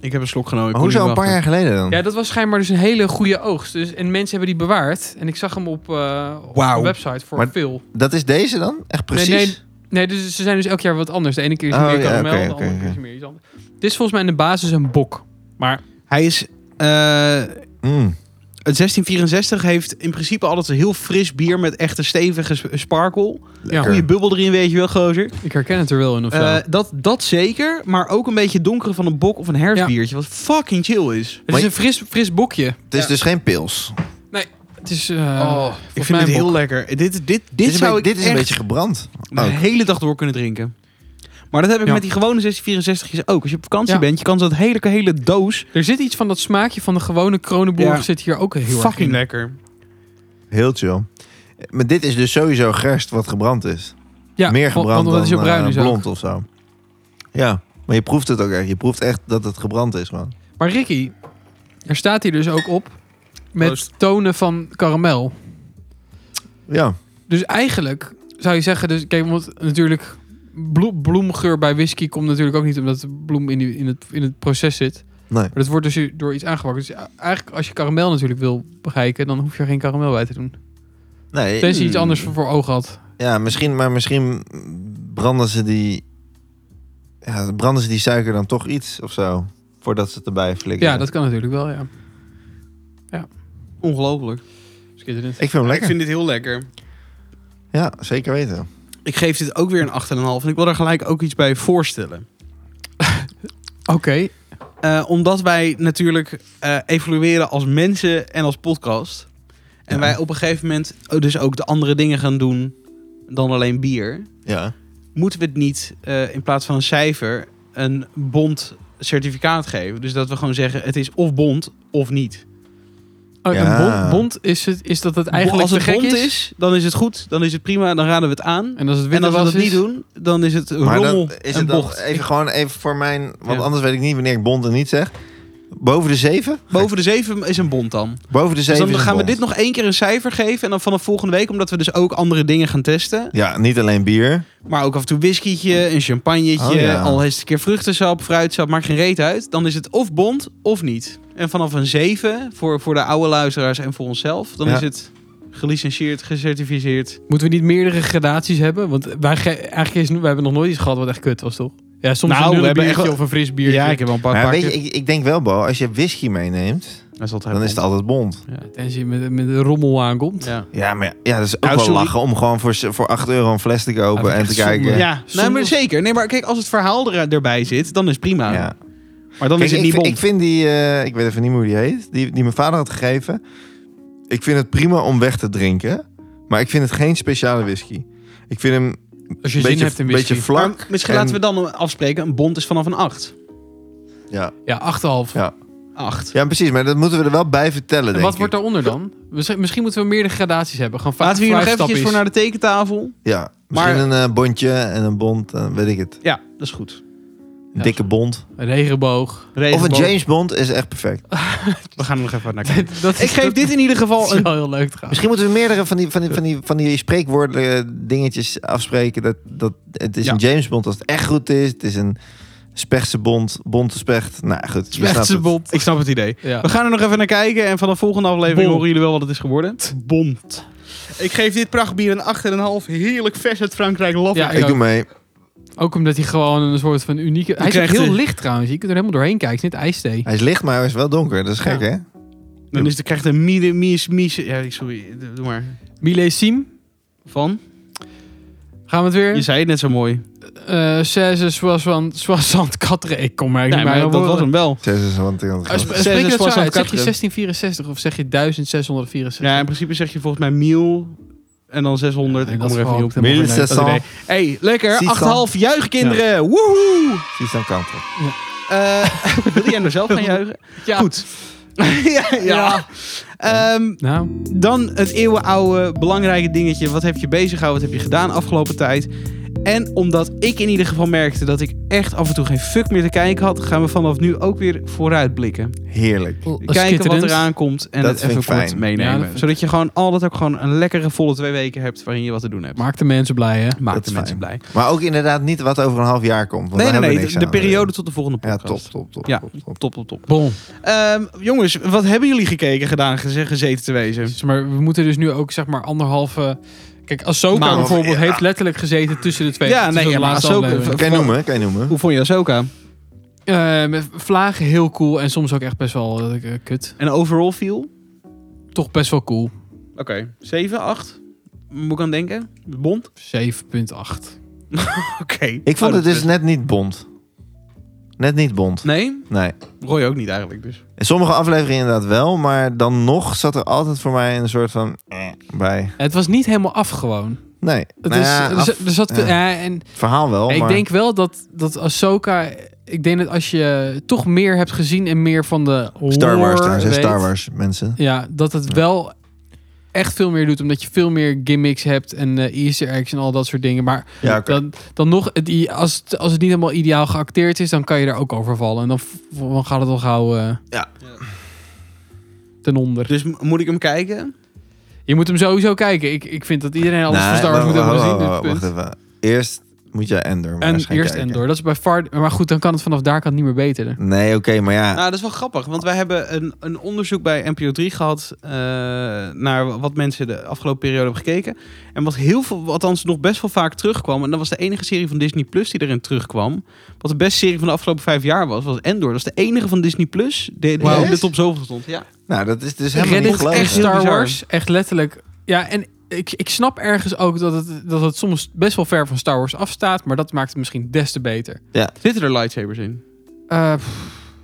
S1: Ik heb een slok genomen. ik
S2: Maar
S1: kon
S2: hoezo
S1: niet
S2: een paar
S1: wachten.
S2: jaar geleden dan?
S3: Ja, dat was schijnbaar dus een hele goede oogst. Dus, en mensen hebben die bewaard. En ik zag hem op, eh, op
S1: Wauw.
S3: een website voor
S2: Maar
S3: veel.
S2: Dat is deze dan? Echt precies?
S3: Nee, nee, nee, dus ze zijn dus elk jaar wat anders. De ene keer is het
S2: Oh,
S3: meer
S2: ja,
S3: karamel,
S2: oké,
S3: de andere
S2: oké,
S3: keer is
S2: oké.
S3: het meer iets anders. Dit is volgens mij in de basis een bok. Maar
S1: Hij is... eh,
S2: Mm.
S1: het 1664 heeft in principe altijd een heel fris bier met echte stevige sp- sparkle.
S2: Lekker.
S1: Goede bubbel erin, weet je wel, gozer.
S3: Ik herken het er wel in of zo.
S1: Eh, dat, dat zeker, maar ook een beetje donkere van een bok of een herfstbiertje. Wat fucking chill is.
S3: het is een fris, fris bokje.
S2: Het is dus geen pils.
S3: Het is. eh,
S1: Oh,
S3: volgens
S1: ik vind
S3: mij
S1: het
S3: een
S1: heel
S3: bok.
S1: lekker. Dit, dit, dit,
S2: Dit is, een,
S1: zou
S2: beetje,
S1: ik
S2: dit is
S1: echt
S2: een beetje gebrand.
S1: de
S2: ook.
S1: hele dag door kunnen drinken. Maar dat heb ik
S3: Ja.
S1: met die gewone 1664 ook. Als je op vakantie
S3: Ja.
S1: bent, je kan zo'n hele, hele doos...
S3: Er zit iets van dat smaakje van de gewone Kronenbourg
S1: Ja.
S3: zit hier ook heel erg
S1: fucking
S3: in.
S1: lekker.
S2: Heel chill. Maar dit is dus sowieso gerst wat gebrand is.
S3: Ja,
S2: Meer
S3: want-
S2: gebrand
S3: want dat is
S2: dan
S3: heel bruin
S2: eh,
S3: is ook.
S2: blond of zo. Ja, maar je proeft het ook echt. Je proeft echt dat het gebrand is, man.
S3: Maar Ricky, er staat hier dus ook op met
S1: Proost.
S3: tonen van karamel.
S2: Ja,
S3: Dus eigenlijk zou je zeggen, dus kijk, want natuurlijk blo- bloemgeur bij whisky komt natuurlijk ook niet omdat de bloem in, die- in, het, in het proces zit.
S2: nee.
S3: Maar dat wordt dus hier door iets aangewakkerd. Dus eigenlijk als je karamel natuurlijk wil bereiken, dan hoef je er geen karamel bij te doen.
S2: nee
S3: Tenzij je iets anders
S1: Mm.
S3: voor, voor ogen had.
S2: Ja, misschien, maar misschien branden ze die... Ja, branden ze die suiker dan toch iets of zo. Voordat ze het erbij flikkeren.
S3: Ja, dat kan natuurlijk wel, ja.
S1: Ongelooflijk.
S3: Schitterend.
S2: Ik vind hem
S1: Ik
S2: lekker.
S1: vind dit heel lekker.
S2: Ja, zeker weten.
S1: Ik geef dit ook weer een 8,5. En ik wil er gelijk ook iets bij voorstellen.
S3: Oké,
S1: Eh, omdat wij natuurlijk eh, evolueren als mensen en als podcast. En
S2: Ja.
S1: wij op een gegeven moment oh, dus ook de andere dingen gaan doen dan alleen bier.
S2: Ja.
S1: Moeten we het niet eh, in plaats van een cijfer een bond certificaat geven? Dus dat we gewoon zeggen het is of bond of niet.
S3: Oh,
S2: Ja.
S3: En bond, bond is, het, is dat het eigenlijk
S1: Als het
S3: te gek
S1: bond is,
S3: is.
S1: dan is het goed, dan is het prima, dan raden we het aan.
S3: En als het
S1: En
S3: witte
S1: als we
S3: was
S1: dat niet
S3: is-
S1: doen, dan is het
S2: Maar
S1: rommel
S2: dan is
S1: en
S2: het dan
S1: bocht.
S2: even gewoon even voor mijn... Want
S1: Ja.
S2: anders weet ik niet wanneer ik bond en niet zeg. Boven de zeven?
S1: Boven de 7 is een bond dan.
S2: Boven de
S1: Dus
S2: zeven
S1: dan
S2: is
S1: gaan we
S2: bond.
S1: dit nog één keer een cijfer geven. En dan vanaf volgende week, omdat we dus ook andere dingen gaan testen.
S2: Ja, niet alleen bier.
S1: Maar ook af en toe whiskytje, een champagnetje.
S2: Oh, ja.
S1: Al eens een keer vruchtensap, fruitsap, maakt geen reet uit. Dan is het of bond of niet. En vanaf een 7 voor, voor de oude luisteraars en voor onszelf. Dan
S2: Ja.
S1: is het gelicentieerd, gecertificeerd.
S3: Moeten we niet meerdere gradaties hebben? Want wij ge- eigenlijk is, we hebben nog nooit iets gehad wat echt kut was, toch? Ja,
S1: Nou,
S3: soms een
S1: we hebben
S3: nullenbiertje
S1: echt wel-
S3: of een fris biertje.
S1: heb wel een paar
S2: Maar weet je, ik, ik denk wel, Bo, als je whisky meeneemt,
S1: dat is altijd
S2: dan is het altijd bond.
S3: Ja, tenzij je met, met de rommel aankomt.
S1: Ja,
S2: Ja, maar ja, ja, dat is ook
S1: Nou,
S2: wel
S1: sorry.
S2: lachen om gewoon voor, z- voor 8 euro een fles te
S3: Ah,
S2: kopen
S3: vind ik
S2: en te
S3: echt zonde.
S2: kijken.
S1: ja. Nee, Nou, maar
S3: Soms-
S1: zeker. Nee, maar kijk, als het verhaal er, erbij zit, dan is het prima.
S2: Ja.
S1: Maar dan
S2: Kijk,
S1: is het
S2: ik,
S1: niet
S2: vind-
S1: bond.
S2: ik vind die, eh, ik weet even niet meer hoe die heet, die, die mijn vader had gegeven. Ik vind het prima om weg te drinken, maar ik vind het geen speciale whisky. Ik vind hem
S3: Als je
S2: een
S3: zin
S2: beetje,
S3: hebt in whisky.
S2: beetje vlak.
S1: Maar misschien
S2: en-
S1: laten we dan afspreken, een bond is vanaf een 8.
S2: Ja.
S3: Ja, 8,5.
S2: Ja,
S1: 8.
S2: ja, precies, maar dat moeten we er wel bij vertellen,
S3: en
S2: denk
S3: wat
S2: ik.
S3: wordt daaronder dan? Misschien, misschien moeten we meerdere gradaties hebben. Gaan
S1: Laten we hier nog eventjes voor naar
S3: naar...
S1: de tekentafel.
S2: Ja, misschien
S1: Maar-
S2: een eh, bondje en een bond, eh, weet ik het.
S1: Ja, dat is goed.
S2: Een dikke bond.
S3: Regenboog.
S2: Of een
S1: Regenboog.
S2: James Bond is echt perfect.
S1: We gaan er nog even naar kijken.
S3: dat is-
S1: Ik geef dit in ieder
S3: dat
S1: geval
S3: is
S1: een...
S3: wel heel leuk trouwens.
S2: Misschien moeten we meerdere van die, van die, van die, van die spreekwoorden eh, dingetjes afspreken. Dat, dat, het is
S1: Ja.
S2: een James Bond als het echt goed is. Het is een Spechtse Bond. Bond de Specht. Nou goed, je snapt het.
S1: Ik snap het idee.
S3: Ja.
S1: We gaan er nog even naar kijken en van de volgende aflevering
S3: Bond.
S1: horen jullie wel wat het is geworden. Bond. Ik geef dit prachtbier een 8,5. Heerlijk vers uit Frankrijk. Love
S3: Ja,
S1: it.
S3: ik
S2: Ik
S3: ook.
S2: doe mee.
S3: Ook omdat hij gewoon een soort van unieke... Hij is ook
S1: krijgt
S3: heel
S1: een-
S3: licht trouwens. Je kunt er helemaal doorheen kijken. Het is net ijsthee.
S2: Hij is licht, maar hij is wel donker. Dat is gek,
S3: Ja.
S2: hè?
S1: Dan is, dan krijgt een mie, mie, mie, ja, sorry, doe maar.
S3: Milésime.
S1: Van?
S3: Gaan we het weer?
S1: Je zei het net zo mooi.
S3: Eh, 16 soixante- soixante quatre. Ik kom maar niet
S1: Nee,
S3: bij
S1: maar
S3: mijn
S1: dat was
S3: woorden.
S1: hem wel.
S2: Zes is want ik had
S3: Eh,
S2: het
S3: sp-
S1: Zes
S3: Spreek je
S1: is
S3: het zo uit? Zeg
S1: soixante
S3: je
S1: quatre.
S3: 1664 of zeg je 1664?
S1: Ja, in principe zeg je volgens mij miel en dan 600.
S3: Ja,
S1: ik
S3: dat
S1: kom er even
S3: is
S1: niet op.
S3: gewoon helemaal
S2: Mille
S1: Dat idee. hey, lekker.
S2: Zie
S1: 8,5 juichkinderen. Woehoe.
S2: precies aan kanten.
S1: Eh, wil jij nou zelf gaan juichen?
S3: Ja.
S1: Goed. ja. ja.
S3: Ja.
S1: Ehm,
S3: Nou,
S1: dan het eeuwenoude belangrijke dingetje. Wat heb je bezig gehouden? Wat heb je gedaan afgelopen tijd? En omdat ik in ieder geval merkte dat ik echt af en toe geen fuck meer te kijken had, gaan we vanaf nu ook weer vooruitblikken.
S2: Heerlijk.
S1: Kijken wat
S3: schitterend.
S1: eraan komt en
S2: Dat
S1: het
S2: vind
S1: even
S2: ik fijn.
S1: kort meenemen.
S3: Ja, dat vind ik-
S1: Zodat je gewoon altijd ook gewoon een lekkere volle twee weken hebt waarin je wat te doen hebt.
S3: maakt de mensen blij, hè?
S1: Maakt
S2: dat
S1: de
S2: is
S1: mensen blij.
S2: Maar ook inderdaad niet wat over een half jaar komt. Want
S1: Nee,
S2: daar
S1: nee,
S2: hebben we
S1: nee.
S2: niks
S1: De,
S2: aan.
S1: periode tot de volgende
S2: Ja,
S1: podcast.
S2: top, top, top.
S1: Ja.
S2: top, top.
S1: Top, top, top.
S3: Bon.
S1: Ehm, jongens, wat hebben jullie gekeken, gedaan, geze- gezeten te wezen?
S3: Zeg maar we moeten dus nu ook zeg maar anderhalve. Kijk, Ahsoka
S1: Maand.
S3: bijvoorbeeld
S2: Ja.
S3: heeft letterlijk gezeten tussen de twee.
S1: Ja,
S3: tussen
S1: nee,
S3: de
S1: ja, maar
S3: laatste
S1: Ahsoka-
S3: aflevering.
S2: Kan je noemen, kan je noemen.
S1: Hoe vond je Ahsoka?
S3: Eh, met vlagen heel cool en soms ook echt best wel eh, k- kut.
S1: En overall feel?
S3: Toch best wel cool.
S1: Oké. 7, 8? Moet ik aan denken? Bond?
S3: 7.8.
S1: Oké.
S2: Ik vond
S1: Oh,
S2: het
S1: dat
S2: dus net niet bond. Net niet bond.
S1: Nee?
S2: Nee.
S1: Roy ook niet eigenlijk dus.
S2: In sommige afleveringen inderdaad wel, maar dan nog zat er altijd voor mij een soort van eh, bij.
S3: Het was niet helemaal af gewoon.
S2: Nee.
S3: Het
S2: Nou
S3: is,
S2: ja,
S3: er
S2: af-
S3: zat- er zat,
S2: ja.
S3: ja, en
S2: het verhaal wel,
S3: ik
S2: maar
S3: denk wel dat, dat Ahsoka... Ik denk dat als je toch meer hebt gezien en meer van de
S2: Star Wars
S3: lore
S2: trouwens, hè,
S3: weet,
S2: Star Wars mensen.
S3: Ja, dat het wel echt veel meer doet. Omdat je veel meer gimmicks hebt en eh, easter eggs en al dat soort dingen. Maar
S2: Ja, oké.
S3: dan, dan nog, het, i- als, het, als het niet helemaal ideaal geacteerd is, dan kan je daar ook over vallen. En dan, v- dan gaat het al gauw eh,
S2: Ja.
S3: ten onder.
S1: Dus m- moet ik hem kijken?
S3: Je moet hem sowieso kijken. Ik, ik vind dat iedereen alles
S2: Nee,
S3: van Star Wars moet
S2: wacht,
S3: hebben
S2: wacht,
S3: gezien.
S2: wacht,
S3: dit punt.
S2: wacht even. Eerst moet je Endor maar
S3: En
S2: eens gaan
S3: eerst
S2: kijken.
S3: Endor. Dat is bij far... Maar goed, dan kan het vanaf daar kan het niet meer beter.
S2: Nee, oké, maar ja.
S1: Nou, dat is wel grappig. Want wij hebben een, een onderzoek bij NPO 3 gehad... eh, naar wat mensen de afgelopen periode hebben gekeken. En wat heel veel, wat althans nog best wel vaak terugkwam... en dat was de enige serie van Disney Plus die erin terugkwam... wat de beste serie van de afgelopen vijf jaar was, was Endor. Dat is de enige van Disney Plus die, die
S3: Wauw.
S1: in de top zoveel stond. Ja.
S2: Nou, dat is dus helemaal niet
S3: Reddit
S2: gelogen.
S3: echt
S1: Heel
S3: Star
S1: bizar.
S3: Wars. Echt letterlijk. Ja, en ik, ik snap ergens ook dat het, dat het soms best wel ver van Star Wars afstaat. Maar dat maakt het misschien des te beter.
S1: Zitten er lightsabers in?
S3: Eh, pff,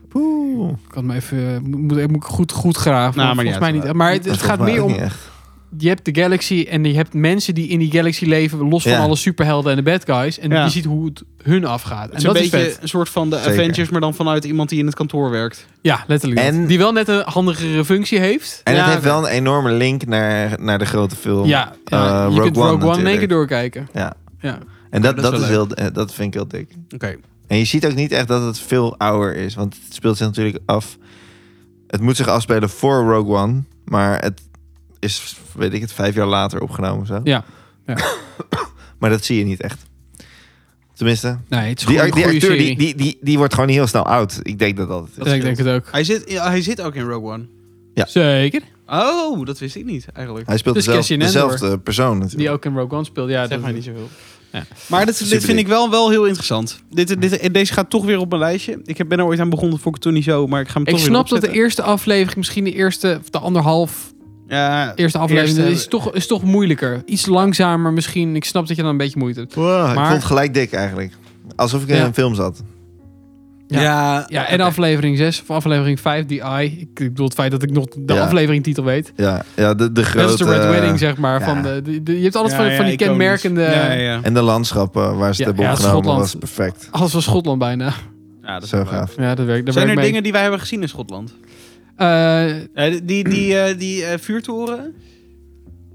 S2: Poeh.
S3: ik kan me even... Moet, moet ik goed, goed graven.
S1: Nou, maar
S3: maar
S1: niet
S3: volgens mij
S1: uit.
S3: niet. Maar het,
S2: Dat
S3: het
S2: volgens
S3: gaat
S2: mij
S3: meer
S2: ook
S3: om...
S2: niet echt.
S3: Je hebt de galaxy en je hebt mensen die in die galaxy leven. Los van
S2: Ja.
S3: alle superhelden en de bad guys. En
S1: Ja.
S3: je ziet hoe het hun afgaat.
S1: Het
S3: En
S1: is
S3: dat
S1: een
S3: is
S1: beetje
S3: vet.
S1: een soort van de
S2: Zeker.
S1: Avengers, maar dan vanuit iemand die in het kantoor werkt.
S3: Ja, letterlijk. dat.
S2: En-
S3: Die wel net een handigere functie heeft.
S2: En
S1: Ja,
S2: het heeft
S1: oké.
S2: wel een enorme link naar, naar de grote film.
S3: Ja, ja,
S2: Eh,
S3: je
S2: Rogue
S3: kunt
S2: One
S3: Rogue One
S2: natuurlijk.
S3: in één keer doorkijken.
S2: Ja.
S3: Ja.
S2: En dat,
S1: Oh,
S2: dat,
S1: dat is
S2: is
S1: wel
S2: heel, eh, dat vind ik heel dik.
S1: Oké.
S2: En je ziet ook niet echt dat het veel ouder is. Want het speelt zich natuurlijk af. Het moet zich afspelen voor Rogue One. Maar het is, weet ik het, vijf jaar later opgenomen of zo.
S3: Ja, ja.
S2: maar dat zie je niet echt. Tenminste,
S3: Nee, het is
S2: die,
S3: gewoon
S2: act- die
S3: een goede
S2: acteur
S3: serie.
S2: die, die, die, die wordt gewoon niet heel snel oud. Ik denk dat dat het
S3: ja,
S2: is.
S3: ik denk het ook.
S1: Hij, zit, hij zit ook in Rogue One.
S3: Zeker.
S1: Oh, dat wist ik niet eigenlijk.
S2: Hij speelt
S3: Dus
S2: dezelfde,
S3: Cassian Andor.
S2: dezelfde persoon natuurlijk.
S3: Die ook in Rogue One speelt. Ja,
S1: zeg
S3: dat-
S1: mij niet zoveel.
S3: Ja.
S1: Maar dit, dit
S2: Superdik.
S1: vind ik wel, wel heel interessant. Dit, dit, deze gaat toch weer op mijn lijstje. Ik heb- ben er ooit aan begonnen, vond ik het toen niet zo, maar ik ga hem
S3: Ik
S1: toch
S3: snap
S1: weer
S3: dat de eerste aflevering, misschien de eerste of de anderhalf
S1: opzetten. Ja,
S3: eerste aflevering,
S1: Eerste-
S3: is, toch, is toch moeilijker. Iets langzamer misschien. Ik snap dat je dan een beetje moeite hebt.
S2: Wow, Ik
S3: Maar-
S2: vond het gelijk dik eigenlijk. Alsof ik in
S3: Ja.
S2: een film zat.
S3: Ja.
S1: ja,
S3: Ja, en
S1: oké.
S3: aflevering 6 of aflevering 5, die I. Ik, ik bedoel het feit dat ik nog de
S2: Ja.
S3: afleveringtitel weet.
S2: Ja, ja de, de grote...
S3: dat is de Red Wedding, zeg maar.
S2: eh, ja.
S3: Van de, de- de- je hebt alles
S1: Ja,
S3: van,
S1: ja,
S3: van die
S1: iconisch.
S3: kenmerkende...
S1: Ja, ja, ja.
S2: En de landschappen waar ze
S3: Ja,
S2: het hebben
S3: ja,
S2: opgenomen
S3: Schotland.
S2: was perfect.
S3: Alles van Schotland bijna.
S1: Ja, dat is
S2: Zo
S1: wel leuk.
S2: gaaf.
S3: Ja, dat werkt. Dat
S1: Zijn er
S3: werkt mee.
S1: dingen die wij hebben gezien in Schotland?
S3: Eh,
S1: Eh, die die, die, eh, die eh, vuurtoren?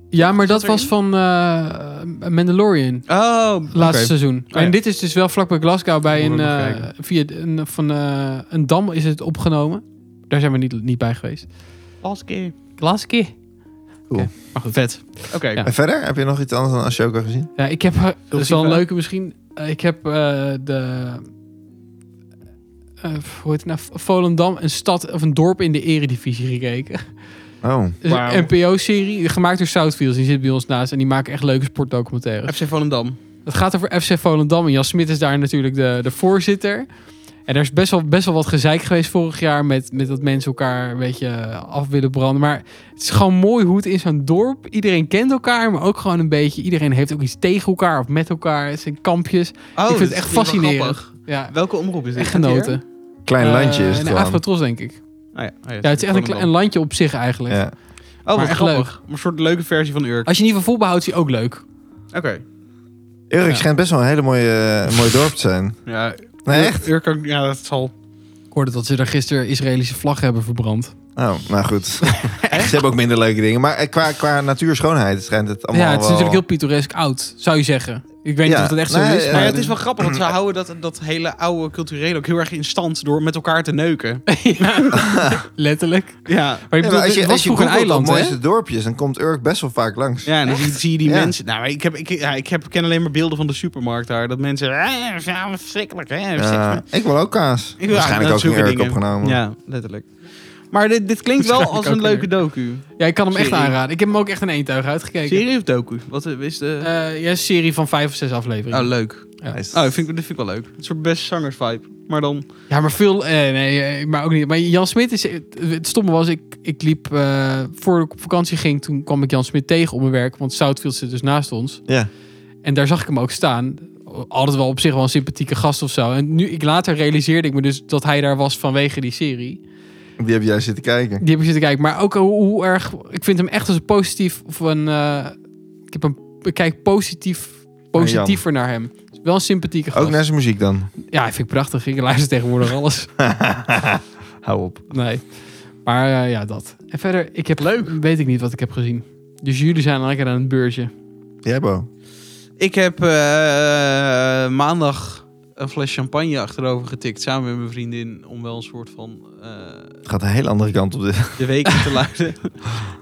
S3: ja, maar
S1: Zat
S3: dat was
S1: erin?
S3: van eh, Mandalorian.
S1: Oh,
S3: Laatste
S1: oké.
S3: seizoen.
S1: ja.
S3: En dit is dus wel vlakbij Glasgow bij
S1: Moet
S3: een,
S1: ik nog
S3: eh,
S1: kijken.
S3: via de- een, van, eh, een dam is het opgenomen. Daar zijn we niet, niet bij geweest.
S1: Laatste keer.
S3: Glasgow.
S1: Maar goed, vet. Oké.
S3: Ja.
S2: En verder, heb je nog iets anders dan Ashoka gezien?
S3: Ja, ik heb... eh, dat is wel een
S1: Siva.
S3: leuke misschien. Eh, ik heb eh, de... eh, hoe heet het nou? Volendam, een stad of een dorp in de eredivisie gekeken.
S2: Oh,
S3: Dus
S1: Wauw.
S3: een NPO-serie, gemaakt door Southfields. Die zit bij ons naast en die maken echt leuke sportdocumentaires.
S1: FC Volendam.
S3: Het gaat over FC Volendam en Jan Smit is daar natuurlijk de, de voorzitter. En er is best wel, best wel wat gezeik geweest vorig jaar met, met dat mensen elkaar een beetje eh, af willen branden. Maar het is gewoon mooi hoe het in zo'n dorp. Iedereen kent elkaar, maar ook gewoon een beetje. Iedereen heeft ook iets tegen elkaar of met elkaar. Het zijn kampjes.
S1: Oh,
S3: ik
S1: dat
S3: vind het echt
S1: wel
S3: fascinerend.
S1: grappig.
S3: Ja,
S1: Welke omroep is dit?
S3: echt genoten.
S2: Klein landje is
S3: Eh,
S2: het
S3: en
S2: gewoon.
S3: Afrotros, denk ik.
S1: Ah, ja. Ah,
S3: Ja, het is echt een, kle- een
S1: Oh,
S3: landje op zich eigenlijk.
S2: Ja.
S1: wat
S3: maar echt
S1: grappig. Een soort leuke versie van Urk.
S3: Als je niet van voetbal houdt, is hij ook leuk.
S1: Oké.
S2: Urk
S3: Ja.
S2: schijnt best wel een hele mooie, eh, mooi dorp te zijn.
S1: Ja,
S2: Nee,
S1: Urk-
S2: echt?
S1: Urk, ook- ja, dat zal.
S3: Ik hoorde dat ze daar gisteren Israëlische vlag hebben verbrand.
S2: Oh, nou goed. Ze hebben ook minder leuke dingen. Maar eh, qua, qua natuurschoonheid schijnt het allemaal
S3: ja, het is
S2: wel-
S3: natuurlijk heel pittoresk oud, zou je zeggen. Ik weet
S2: Ja,
S3: niet of dat echt
S2: nou
S3: zo
S2: ja,
S3: is,
S2: ja,
S1: Maar
S3: maar...
S1: ja, het is wel grappig, want ze houden dat, dat hele oude culturele ook heel erg in stand door met elkaar te neuken.
S3: Ja, letterlijk.
S1: Ja,
S3: Maar ik
S2: Ja,
S3: bedoel,
S2: maar als
S3: het
S2: je,
S3: was
S2: als je
S3: vroeger een
S2: googelt op
S3: eiland, hè?
S2: mooiste dorpjes, dan komt Urk best wel vaak langs.
S1: ja en dan zie, zie je die
S2: Ja.
S1: mensen. Nou, maar ik, heb, ik, ja, ik heb, ken alleen maar beelden van de supermarkt daar. Dat mensen. "Ah, Ja, verschrikkelijk, hè?
S2: Ja,
S1: verschrikkelijk."
S2: ik wil ook kaas.
S1: Ja,
S2: Waarschijnlijk
S1: dat
S2: ook in
S1: zulke
S2: Urk
S1: dingen.
S2: opgenomen.
S1: Ja, letterlijk. Maar dit, dit klinkt wel als een leuke
S3: Waarschijnlijk
S1: docu.
S3: Ja, ik kan hem echt
S1: Serie.
S3: aanraden. Ik heb hem ook echt in één tuig uitgekeken.
S1: Serie of docu? Wat eh, is de...
S3: Eh, ja, een serie van vijf of zes afleveringen.
S1: oh, leuk.
S2: Nice.
S1: Oh, dat vind, ik- dat vind ik wel leuk. Een soort best zangers vibe. Maar dan...
S3: Ja, maar veel... eh, nee, eh, maar ook niet. Maar Jan Smit is... Het het stomme was, ik, ik liep... eh, voor ik op vakantie ging, toen kwam ik Jan Smit tegen op mijn werk. Want Southfield zit dus naast ons.
S2: Ja.
S3: En daar zag ik hem ook staan. Altijd wel op zich wel een sympathieke gast of zo. En nu, ik later realiseerde ik me dus dat hij daar was vanwege die serie.
S2: Die heb jij zitten kijken.
S3: Die heb ik zitten kijken. Maar ook eh, hoe, hoe erg... Ik vind hem echt als een positief... Of een, eh, ik, heb een, ik kijk positief, positiever naar hem. Is Wel een sympathieke gast.
S2: Ook naar zijn muziek dan.
S3: Ja, ik vind ik prachtig. Ik luister tegenwoordig alles.
S2: Hou op.
S3: Nee. Maar eh, ja, dat. En verder, ik heb... Leuk. Weet ik niet wat ik heb gezien. Dus jullie zijn lekker aan het beurtje.
S2: Jij, Bo.
S1: Ik heb eh, maandag een fles champagne achterover getikt. Samen met mijn vriendin. Om wel een soort van... eh,
S2: Het gaat een heel andere kant op dit.
S1: de week in te luiden.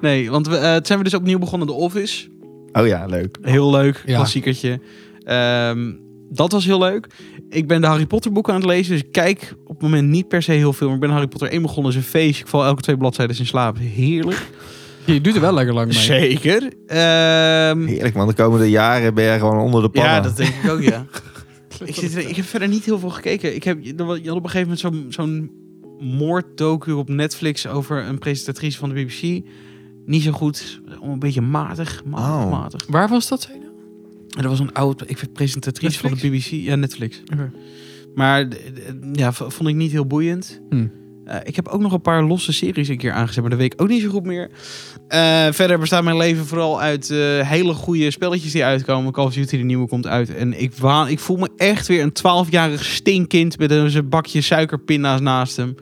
S1: Nee, want we, eh, het zijn we dus opnieuw begonnen. The Office.
S2: Oh ja, leuk.
S1: Heel leuk.
S3: Ja.
S1: Klassiekertje. Ehm, dat was heel leuk. Ik ben de Harry Potter boeken aan het lezen. Dus ik kijk op het moment niet per se heel veel. Maar ik ben Harry Potter 1 begonnen. is een feestje. Ik val elke twee bladzijden in slaap. Heerlijk.
S3: Je doet er wel lekker lang mee.
S1: Zeker. Ehm,
S2: Heerlijk, man. De komende jaren ben jij gewoon onder de pannen.
S1: ja, dat denk ik ook, ja. ik, zit er- ik heb verder niet heel veel gekeken. Ik heb, je had op een gegeven moment zo'n zo'n moorddocu op Netflix over een presentatrice van de BBC. Niet zo goed, een beetje matig, matig,
S2: Oh.
S1: matig.
S3: Waar was dat, zei je nou?
S1: En er was een oud, ik werd presentatrice van de BBC, ja Netflix.
S3: Oké.
S1: Maar d- d- ja, v- vond ik niet heel boeiend.
S3: Hmm.
S1: Eh, ik heb ook nog een paar losse series een keer aangezet, maar dat weet ik ook niet zo goed meer. Eh, verder bestaat mijn leven vooral uit eh, hele goede spelletjes die uitkomen. Call of Duty, de nieuwe, komt uit. En ik, waan, ik voel me echt weer een 12-jarig stinkkind met een zo'n bakje suikerpinda's naast hem.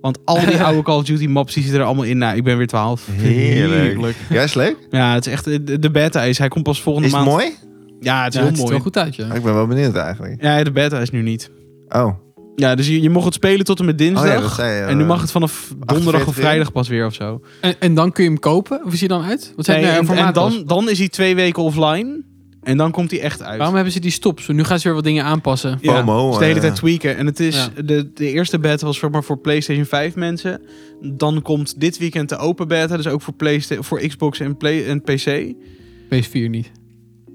S1: Want al die oude Call of Duty maps die zitten er allemaal in. Nou, ik ben weer 12.
S2: Heerlijk. Ja, is leuk.
S1: Ja, het is echt, de de beta is, hij komt pas volgende
S2: Is het
S1: maand.
S2: mooi?
S1: Ja, het is
S3: Ja, het
S1: heel
S3: ziet er
S1: mooi.
S3: wel goed uit, ja.
S2: Ik ben wel benieuwd eigenlijk.
S1: Ja, de beta is nu niet.
S2: Oh,
S1: Ja, dus je, je mocht het spelen tot en met
S2: oh
S1: dinsdag.
S2: ja, dat zei je.
S1: en nu mag het vanaf donderdag of
S2: 48
S1: vrijdag pas weer of zo.
S3: En, en dan kun je hem kopen? Hoe ziet hij dan uit? Wat zijn
S1: Nee,
S3: er
S1: en,
S3: formaat
S1: en
S3: was?
S1: dan, dan is hij twee weken offline. En dan komt hij echt uit.
S3: Waarom hebben ze die stops? Nu gaan ze weer wat dingen aanpassen.
S1: Ja,
S2: FOMO,
S1: dus de hele
S2: eh.
S1: tijd tweaken. En het is,
S3: Ja.
S1: de, de eerste beta was zeg maar voor PlayStation 5 mensen. Dan komt dit weekend de open beta. Dus ook voor, Playsta- voor Xbox en, Play en PC.
S3: PS4 niet.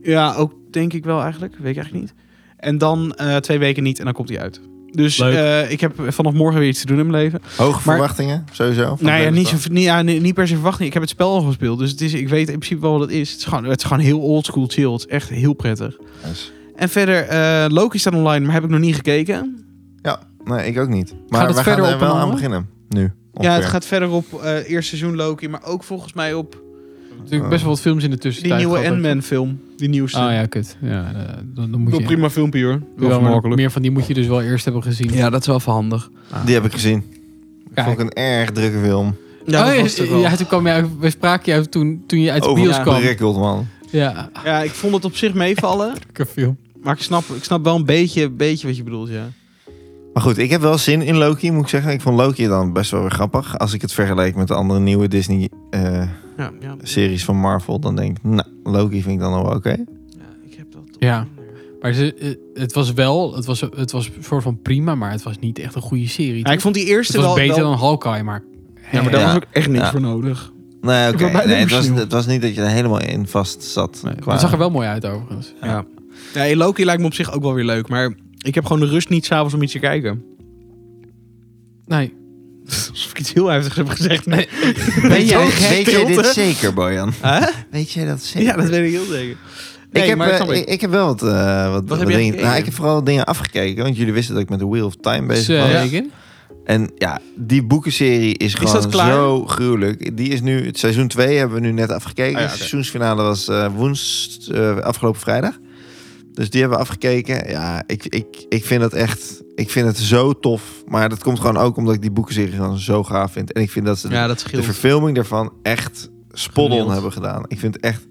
S1: Ja, ook denk ik wel eigenlijk. Weet ik eigenlijk niet. En dan eh, twee weken niet en dan komt hij uit. Dus
S3: Leuk.
S1: eh, ik heb vanaf morgen weer iets te doen in mijn leven.
S2: Hoge
S1: maar-
S2: verwachtingen, sowieso. van
S1: Nou ja,
S2: Bethesda.
S1: niet, zo, niet, ja, nee, niet per se verwachting. Ik heb het spel al gespeeld, dus het is, ik weet in principe wel wat het is. Het is gewoon, het is gewoon heel oldschool chill. Het is echt heel prettig.
S2: Nice.
S1: En verder, eh, Loki staat online, maar heb ik nog niet gekeken.
S2: Ja, nee, ik ook niet. Maar
S3: Gaat het
S2: we
S3: verder
S2: gaan er
S3: op
S2: wel
S3: een
S2: aan
S3: ander?
S2: beginnen. Nu.
S1: Ja, het
S2: ongeveer.
S1: gaat verder op eh eerste seizoen Loki, maar ook volgens mij op
S2: Oh.
S3: Natuurlijk best wel wat films in de
S1: die
S3: tussentijd.
S1: nieuwe
S3: gehad ook.
S1: Ant-Man film. Die nieuwste.
S3: Oh ja, kut. Ja, eh, dan, dan moet
S1: Wel
S3: je...
S1: prima filmpje hoor.
S3: Wel, maar Meer van die moet je dus wel eerst hebben gezien.
S1: Ja, dat is wel verhandig.
S2: Die heb ik gezien. Ik
S3: Kijk.
S2: vond ik een erg drukke film.
S1: Ja,
S3: oh,
S1: dat
S3: ja,
S1: was het ook wel.
S3: ja, toen kwam je uit, we spraken jou toen, toen je uit de
S2: Over-
S3: bios
S1: Ja.
S3: kwam.
S2: Prikkeld, man.
S3: Ja,
S1: Ja, ik vond het op zich meevallen,
S3: lekker film.
S1: maar ik snap, ik snap wel een beetje, beetje wat je bedoelt, ja.
S2: Maar goed, ik heb wel zin in Loki, moet ik zeggen. Ik vond Loki dan best wel weer grappig. Als ik het vergelijk met de andere nieuwe Disney-series
S1: Ja, ja.
S2: van Marvel, dan denk ik, nou, Loki vind ik dan nog wel oké.
S1: ja ik heb dat toch
S3: Ja.
S1: minder.
S3: Maar ze, eh, het was wel, het was, het was een soort van prima, maar het was niet echt een goede serie.
S1: Ja, ik vond die
S3: het
S1: eerste
S3: was
S1: wel,
S3: beter
S1: wel-
S3: dan Hawkeye, maar...
S1: Ja, maar daar
S2: Ja.
S1: was ook echt niks
S2: Ja.
S1: voor nodig.
S2: Nee,
S1: Ik
S2: oké.
S1: ben bijna
S2: Nee, het, was,
S1: emotioneel.
S2: het was niet dat je er helemaal in vast zat.
S3: Nee,
S2: qua-
S3: Het zag er wel mooi uit overigens.
S1: Ja. ja. Loki lijkt me op zich ook wel weer leuk. Maar ik heb gewoon de rust niet s'avonds om iets te kijken.
S3: Nee.
S1: Alsof ik iets heel heftigs heb gezegd. Nee.
S2: Weet jij,
S1: Zo'n
S2: weet jij
S1: stilte.
S2: dit zeker, Bojan?
S1: Huh?
S2: Weet jij dat zeker?
S1: Ja, dat weet ik heel zeker.
S2: ik, heb,
S1: maar
S2: eh,
S1: dat snap
S2: ik. ik heb wel wat, eh, wat, wat
S1: heb jij
S2: dingen.
S1: gekeken?
S2: Nou, ik heb vooral dingen afgekeken, want jullie wisten dat ik met The Wheel of Time bezig was.
S3: Zeker.
S2: En ja, die boekenserie is gewoon
S1: dat klaar?
S2: zo gruwelijk. Die is nu, het seizoen 2 hebben we nu net afgekeken.
S1: Ah, ja,
S2: Het
S1: oké.
S2: seizoensfinale was eh woens, eh, afgelopen vrijdag. Dus die hebben we afgekeken. Ja, ik, ik, ik vind dat echt, ik vind het zo tof. Maar dat komt gewoon ook omdat ik die boekenserie gewoon zo gaaf vind. En ik vind dat ze
S1: Ja, dat
S2: de
S1: scheelt.
S2: verfilming daarvan echt spot on
S1: Gemiddeld.
S2: hebben gedaan. Ik vind het echt,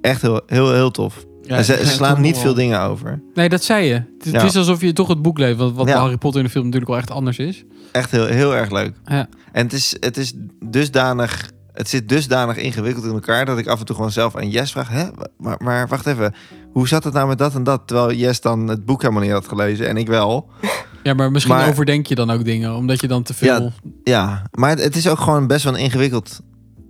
S2: echt heel, heel, heel tof.
S1: Ja,
S2: en ze,
S1: ja,
S2: ze slaan
S1: kom
S2: niet
S1: op.
S2: veel dingen over.
S3: Nee, dat zei je. Het, het
S2: Ja.
S3: is alsof je toch het boek leeft, wat, wat
S2: Ja.
S3: bij Harry Potter in de film natuurlijk wel echt anders is.
S2: Echt heel, heel erg leuk.
S3: Ja.
S2: En het is, het is dusdanig. Het zit dusdanig ingewikkeld in elkaar dat ik af en toe gewoon zelf aan Jess vraag: Hè? wa- Maar, maar wacht even, hoe zat het nou met dat en dat? Terwijl Jess dan het boek helemaal niet had gelezen en ik wel.
S3: Ja, maar misschien
S2: Maar-
S3: overdenk je dan ook dingen, omdat je dan te veel...
S2: Ja, maar het, het is ook gewoon best wel een ingewikkeld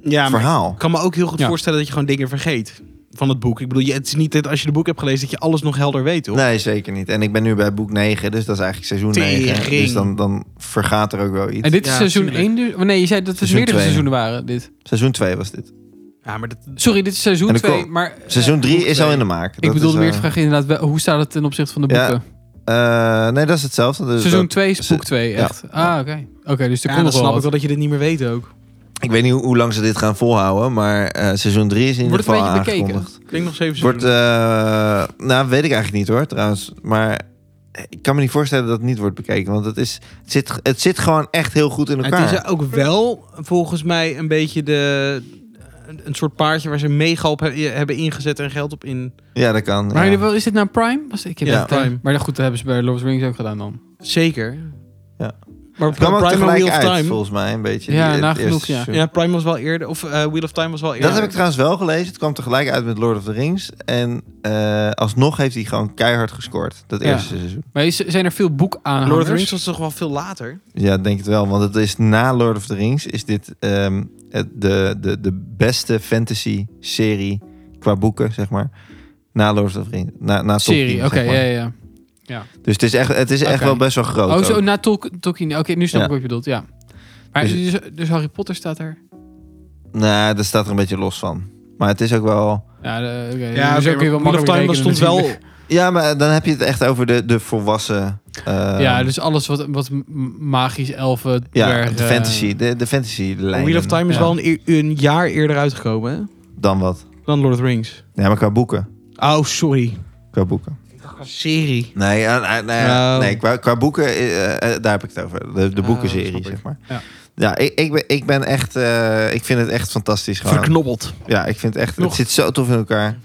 S1: Ja, maar
S2: verhaal.
S1: ik kan me ook heel goed
S3: Ja.
S1: voorstellen dat je gewoon dingen vergeet van het boek. Ik bedoel, je- het is niet dat als je de boek hebt gelezen dat je alles nog helder weet, hoor.
S2: Nee, zeker niet. En ik ben nu bij boek 9, dus dat is eigenlijk seizoen 9.
S1: Tering.
S2: Dus dan, dan vergaat er ook wel iets.
S3: En dit is
S1: Ja,
S3: seizoen
S1: tuurlijk.
S3: 1 dus? Oh, Nee, je zei dat er
S2: Seizoen
S3: meerdere
S2: twee.
S3: seizoenen waren, dit.
S2: Seizoen 2 was dit.
S1: Ja, maar dat...
S3: Sorry, dit is
S2: En
S3: seizoen
S2: er
S3: 2,
S2: komt-
S3: maar...
S2: Seizoen
S3: eh,
S2: 3 is eh, al
S3: twee.
S2: in de maak.
S3: Ik bedoel meer te
S2: vraag.
S3: vragen inderdaad, wel- hoe staat het ten opzichte van de
S2: Ja,
S3: boeken?
S2: nee, dat is hetzelfde. Dus
S3: seizoen
S2: dat-
S3: 2 is
S2: se-
S3: boek 2,
S2: ja.
S3: echt. Ah, oké. Oké, dus er
S1: Ja,
S3: komt
S1: dan snap
S3: nog wel
S1: ik wel
S3: wat.
S1: dat je dit niet meer weet ook.
S2: Ik weet niet hoe, hoe lang ze dit gaan volhouden, maar eh, seizoen 3 is in ieder
S3: Wordt het
S2: geval
S3: een beetje bekeken?
S2: aangekondigd.
S1: Klinkt nog zeven
S2: Wordt, eh, nou, weet ik eigenlijk niet hoor, trouwens. Maar eh, ik kan me niet voorstellen dat het niet wordt bekeken. Want het, is, het, zit, het zit gewoon echt heel goed in
S1: En Het
S2: elkaar.
S3: eh,
S1: is ook wel volgens mij een beetje de, een- een soort paardje waar ze mega op he- hebben ingezet en geld op in.
S2: Ja, dat kan.
S3: Maar
S2: ja.
S3: wel- is dit nou Prime? Was- Ik heb
S2: Ja,
S3: ja, Prime.
S1: Prime.
S3: Maar goed, dat hebben ze bij Lord of the Rings ook gedaan dan.
S1: Zeker.
S2: Ja.
S1: Maar
S2: Het kwam ook
S1: Prime en
S2: tegelijk
S1: Wheel of
S2: uit,
S1: Time.
S2: volgens mij, een beetje.
S3: Ja,
S2: die- het
S3: nagenoeg,
S2: eerste
S3: ja.
S2: seizoen.
S1: Ja, Prime was wel eerder. Of eh, Wheel of Time was wel eerder.
S2: Dat heb ik trouwens wel gelezen. Het kwam tegelijk uit met Lord of the Rings. En eh, alsnog heeft hij gewoon keihard gescoord. Dat
S3: Ja.
S2: eerste seizoen.
S3: Maar is, zijn er veel boek aan?
S1: Lord of the Rings was toch wel veel later.
S2: Ja, ik denk het wel. Want het is na Lord of the Rings is dit ehm, het, de, de, de beste fantasy serie qua boeken, zeg maar. Na Lord of the Rings. Na, na
S3: Serie,
S2: Tolkien,
S3: oké,
S2: zeg maar.
S3: ja, ja, ja.
S2: Dus het is echt, het is echt
S3: Oké.
S2: wel best wel groot.
S3: Oh, zo,
S2: ook.
S3: na Tol- Tolkien. Oké, nu snap
S2: Ja.
S3: ik wat je bedoelt, ja. Maar
S2: Dus-
S3: dus, dus Harry Potter staat er.
S2: Nou, daar staat er een beetje los van. Maar het is ook wel...
S3: Ja, de, oké, dus
S1: Ja,
S3: ook
S1: oké,
S3: kun je wel
S1: maar Wheel of
S3: makkelijk
S1: Time
S3: rekenen
S1: stond wel.
S3: natuurlijk.
S2: Ja, maar dan heb je het echt over de, de volwassen... eh,
S3: ja, dus alles wat, wat m- magisch, elfen,
S2: ja,
S3: dwergen,
S2: de
S3: eh,
S2: fantasy. De, de fantasy lijn.
S1: Wheel of Time is
S3: Ja.
S1: wel een, eer- een jaar eerder uitgekomen hè,
S2: Dan wat.
S1: dan Lord of the Rings.
S2: Ja, maar qua boeken.
S1: Oh, sorry.
S2: Qua boeken.
S1: Serie.
S2: Nee, ja, nee, nee,
S1: Nou.
S2: nee qua, qua boeken, eh, eh, daar heb ik het over. De, de
S1: Oh,
S2: boekenserie,
S1: snap ik.
S2: zeg maar.
S3: Ja.
S2: Ja, ik, ik, ben, ik ben echt... eh, ik vind het echt fantastisch gewoon.
S1: Verknobbeld.
S2: Ja, ik vind het echt...
S1: Nog.
S2: Het zit zo tof in elkaar.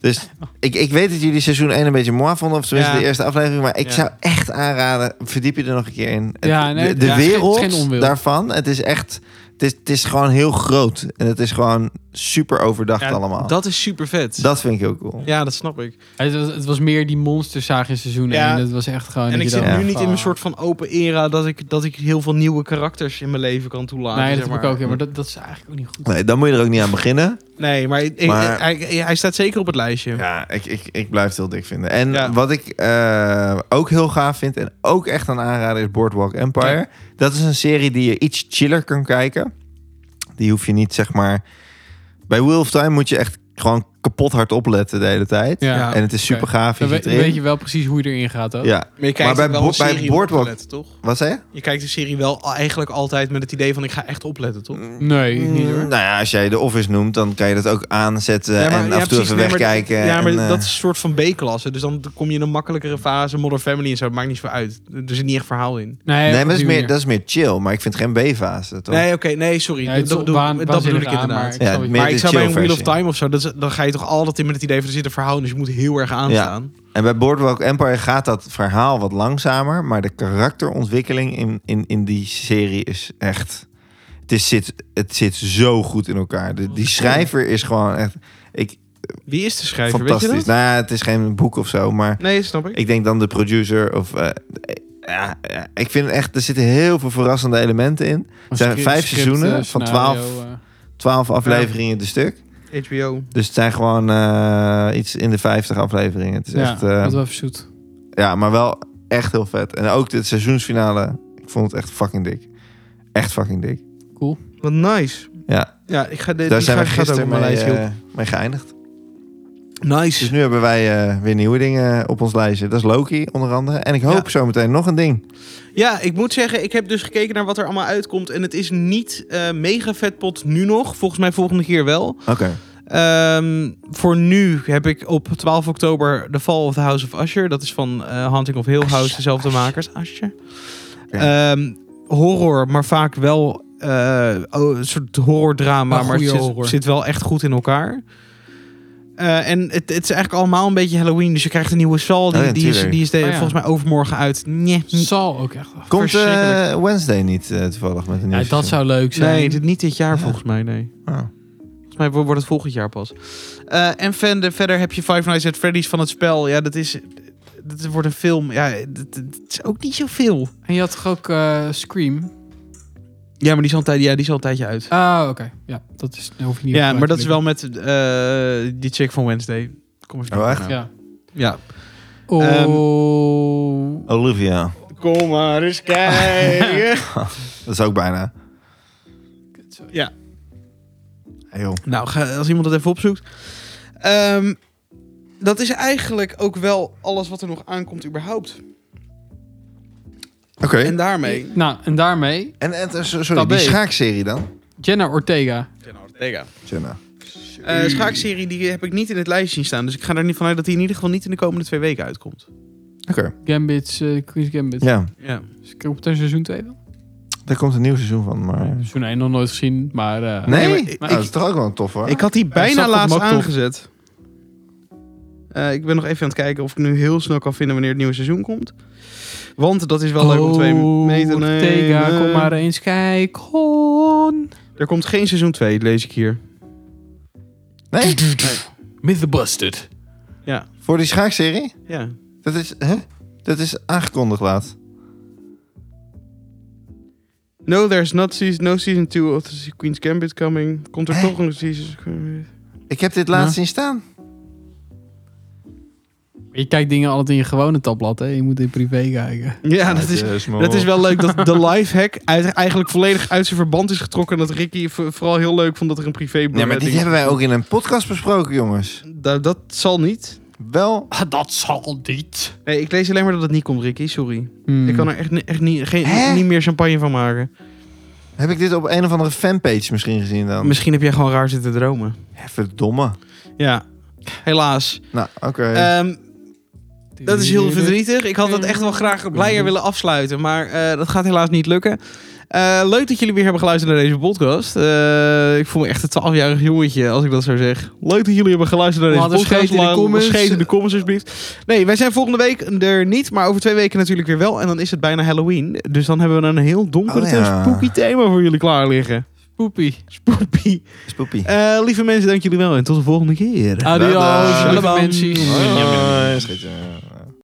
S2: Dus ik, ik weet dat jullie seizoen 1 een beetje mooi vonden. Of tenminste
S1: Ja.
S2: de eerste aflevering. Maar ik
S1: Ja.
S2: zou echt aanraden, verdiep je er nog een keer in. Het-
S3: Ja, nee,
S2: de de
S3: ja, het is geen- het is
S2: wereld
S3: geen onwil.
S2: daarvan, het is echt... Het is, het is gewoon heel groot. En het is gewoon super overdacht allemaal. Dat,
S1: Dat is super vet.
S2: vind ik heel cool.
S1: Ja, dat snap ik.
S3: eh, Het was, het was meer die monsterzaag in seizoen
S1: Ja.
S3: 1. Dat was echt gewoon...
S1: En
S3: dat
S1: ik
S3: je
S1: zit
S3: dacht,
S1: nu niet in
S2: Ah.
S1: een
S3: fuck.
S1: soort van open era dat ik, dat ik heel veel nieuwe karakters in mijn leven kan toelaten.
S3: Nee, dat
S1: zeg
S3: heb ik
S1: maar.
S3: ook. Ja, maar dat, dat is eigenlijk ook niet goed.
S2: Nee, dan moet je er ook niet aan beginnen.
S1: Nee, maar, ik- ik-
S2: Maar-
S1: Hij, hij staat zeker op het lijstje.
S2: Ja, ik, ik, ik blijf het heel dik vinden. En
S1: Ja.
S2: wat ik eh, ook heel gaaf vind en ook echt aan aanraden is Boardwalk Empire.
S3: Ja.
S2: Dat is een serie die je iets chiller kan kijken. Die hoef je niet, zeg maar... Bij Wheel of Time moet je echt gewoon kapot hard opletten de hele tijd.
S3: Ja.
S2: En het is
S3: Oké.
S2: super gaaf.
S3: Dan
S2: Je zit
S3: weet, dan
S2: erin.
S3: weet je wel precies hoe je erin gaat ook.
S2: Ja.
S1: Maar, je kijkt
S2: Maar bij
S1: ook wel
S2: Bo-
S1: een
S2: bij
S1: serie op
S2: Boardwalk-
S1: opletten, toch?
S2: Wat zei je?
S1: Je kijkt de serie wel al- eigenlijk altijd met het idee van ik ga echt opletten,
S2: Eh,
S1: toch?
S3: Nee, ik niet hoor.
S2: Mm, Nou ja, als jij de Office noemt, dan kan je dat ook aanzetten
S1: Ja, maar-
S2: en
S1: ja,
S2: af en toe
S1: precies.
S2: even
S1: Nee, maar-
S2: wegkijken.
S1: Ja, maar
S2: en, eh,
S1: dat is een soort van B-klasse. Dus dan kom je in een makkelijkere fase. Modern Family en zo, het maakt niet zo uit. Er zit niet echt verhaal in.
S3: Nee,
S2: Nee,
S3: op
S2: maar dat is,
S3: die
S2: meer,
S3: manier.
S2: dat is meer chill, maar ik vind het geen B-fase, toch?
S1: Nee, oké, nee, sorry.
S3: Ja, het is
S1: dat bedoel, dat
S3: waan-
S1: bedoel ik
S3: waanzinnig aan,
S1: inderdaad.
S3: maar
S1: Maar,
S3: ik
S2: Ja,
S3: snap je.
S2: meer de
S1: ik zou bij een
S2: chill
S1: Wheel of
S2: versie.
S1: Time of zo, dat is- dan ga je toch altijd in met het idee van er zit een verhaal in, dus je moet heel erg aanstaan.
S2: En bij Boardwalk Empire gaat dat verhaal wat langzamer, maar de karakterontwikkeling in, in, in die serie is echt. Het, is, zit, het zit zo goed in elkaar. De- die schrijver is gewoon echt ik,
S1: Wie is de schrijver, weet je
S2: fantastisch.
S1: dat?
S2: Nou ja, het is geen boek of zo, maar
S1: Nee, snap ik.
S2: ik denk dan de producer of. eh, ja, ja, ik vind echt, er zitten heel veel verrassende elementen in.
S3: Een
S2: zijn
S3: script-
S2: vijf
S3: script,
S2: seizoenen
S3: eh,
S2: van
S3: scenario,
S2: 12.
S3: eh.
S2: Twaalf afleveringen te stuk.
S1: HBO.
S2: Dus het zijn gewoon eh, iets in de 50 afleveringen. Het is
S3: Ja,
S2: echt. eh,
S3: dat was even zoet.
S2: Ja, maar wel echt heel vet. En ook dit seizoensfinale. Ik Ik vond het echt fucking dik. Echt fucking dik.
S1: Wat nice.
S2: Ja,
S1: ja ik ga dit
S2: daar
S1: die
S2: zijn
S1: ga-
S2: we
S1: gaat ook op
S2: gisteren
S1: mijn
S2: mee,
S1: lijstje op.
S2: eh, mee geëindigd. Dus
S1: Nice.
S2: nu hebben wij eh, weer nieuwe dingen op ons lijstje. Dat is Loki onder andere. En ik hoop
S1: Ja.
S2: zometeen nog een ding.
S1: Ja, ik moet zeggen, ik heb dus gekeken naar wat er allemaal uitkomt. En het is niet eh, mega vetpot nu nog. Volgens mij volgende keer wel.
S2: Oké.
S1: Ehm, voor nu heb ik op 12 oktober The Fall of the House of Usher. Dat is van eh, Haunting of Hill House,
S2: Usher,
S1: dezelfde
S2: Usher.
S1: makers. Usher.
S2: Oké.
S1: Ehm, horror, maar vaak wel eh, oh, een soort horrordrama.
S3: Maar
S1: Maar, het
S3: goeie
S1: zit,
S3: horror.
S1: zit wel echt goed in elkaar. Eh, en het, het is eigenlijk allemaal een beetje Halloween. Dus je krijgt een nieuwe Sal. Die,
S2: Oh ja,
S1: die is,
S2: tuurlijk.
S1: die is de-
S3: Oh ja.
S1: volgens mij overmorgen uit. Nee,
S3: Zal ook echt.
S2: Komt eh,
S1: verschrikkelijk.
S2: Wednesday niet eh, toevallig met een nieuw
S3: Ja, dat
S2: seizoen?
S3: zou leuk zijn.
S1: nee dit- niet dit jaar
S2: Ja.
S1: volgens mij. Nee.
S2: Oh.
S1: Volgens mij wordt het volgend jaar pas. Eh, en verder, verder heb je Five Nights at Freddy's van het spel. Ja, dat is... Dat wordt een film. Ja, dat, dat- dat is ook niet zoveel.
S3: En je had toch ook eh, Scream?
S1: Ja, maar die is al een, tijd, ja, die is al een tijdje uit.
S3: Ah, oké. Ja, dat is, daar hoef je niet op
S1: ja,
S3: uit
S1: maar
S3: te
S1: dat is wel
S3: blikken.
S1: met eh, die chick van Wednesday. Kom even
S2: Oh,
S1: op
S2: echt?
S1: haar naam.
S3: Ja.
S1: Ja. Ehm,
S3: Oh.
S2: Olivia.
S1: Kom maar eens kijken.
S2: Dat is ook bijna.
S1: Ja.
S2: Hey, joh.
S1: nou, ga- als iemand dat even opzoekt. Ehm, dat is eigenlijk ook wel alles wat er nog aankomt überhaupt.
S2: Oké.
S1: En daarmee...
S3: Nou, en daarmee
S2: En, en eh, sorry,
S3: Tabé.
S2: die schaakserie dan?
S3: Jenna Ortega.
S2: Jenna.
S1: Eh schaakserie die heb ik niet in het lijstje zien staan. Dus ik ga er niet vanuit dat die in ieder geval niet in de komende twee weken uitkomt.
S2: Oké.
S3: Gambit, eh Queen's Gambit.
S2: Ja,
S1: Ja.
S3: Dus ik op het seizoen 2 wel?
S2: daar komt een nieuw seizoen van. Maar... Nee?
S3: Seizoen 1 nog nooit gezien, maar... eh,
S1: Nee, maar
S2: Nou,
S1: ik-
S2: dat is toch ook wel een tof hoor.
S1: Ik had die
S3: zat
S1: bijna
S3: op
S1: laatst
S3: hem ook top.
S1: aangezet. Eh, ik ben nog even aan het kijken of ik nu heel snel kan vinden wanneer het nieuwe seizoen komt. Want dat is wel leuk om twee mee te nemen.
S3: Oh, Ortega, kom maar eens kijken.
S1: Er komt geen seizoen 2, lees ik hier.
S2: Nee?
S3: Myth busted.
S1: Ja.
S2: Voor die schaakserie?
S1: ja.
S2: Dat is, hè? dat is aangekondigd laat.
S1: No, there's not season, no season 2 of the Queen's Gambit coming. Komt er
S2: Hè?
S1: toch een season...
S2: Ik heb dit laatst
S3: Ja.
S2: zien staan.
S3: Je kijkt dingen altijd in je gewone tabblad, hè? Je moet in privé kijken.
S1: Ja, dat is, Dat is wel leuk dat de lifehack uit, eigenlijk volledig uit zijn verband is getrokken. En dat Ricky v- vooral heel leuk vond dat er een privé...
S2: Ja, maar dit
S1: ding-
S2: hebben wij ook in een podcast besproken, jongens.
S1: Da- dat zal niet.
S2: Wel.
S3: Ah, Dat zal niet.
S1: Nee, ik lees alleen maar dat het niet komt, Ricky. Sorry.
S3: Hmm.
S1: Ik kan er echt, ni- echt niet, geen,
S2: Hè?
S1: niet meer champagne van maken.
S2: Heb ik dit op een of andere fanpage misschien gezien dan?
S1: Misschien heb jij gewoon raar zitten dromen.
S2: Ja, verdomme.
S1: Ja, helaas.
S2: Nou, oké.
S1: Ehm, dat is heel verdrietig. Ik had het echt wel graag blijer willen afsluiten. Maar eh, dat gaat helaas niet lukken. Eh, leuk dat jullie weer hebben geluisterd naar deze podcast. Eh, ik voel me echt een 12-jarig jongetje als ik dat zo zeg. Leuk dat jullie hebben geluisterd naar
S3: We
S1: deze
S3: hadden
S1: podcast.
S3: scheet in de
S1: Laat-
S3: comments.
S1: Scheet in de comments, alsjeblieft. Nee, wij zijn volgende week er niet. Maar over twee weken natuurlijk weer wel. En dan is het bijna Halloween. Dus dan hebben we een heel donker,
S2: Oh ja.
S1: spooky thema voor jullie klaar liggen.
S3: poepie.
S1: Spooky.
S2: Spoepie.
S1: Eh, lieve mensen, dank jullie wel en tot de volgende keer.
S3: Adios,
S2: Dadah.
S3: lieve
S1: Shalom.
S3: mensen.
S2: Hoi. Schiet, eh,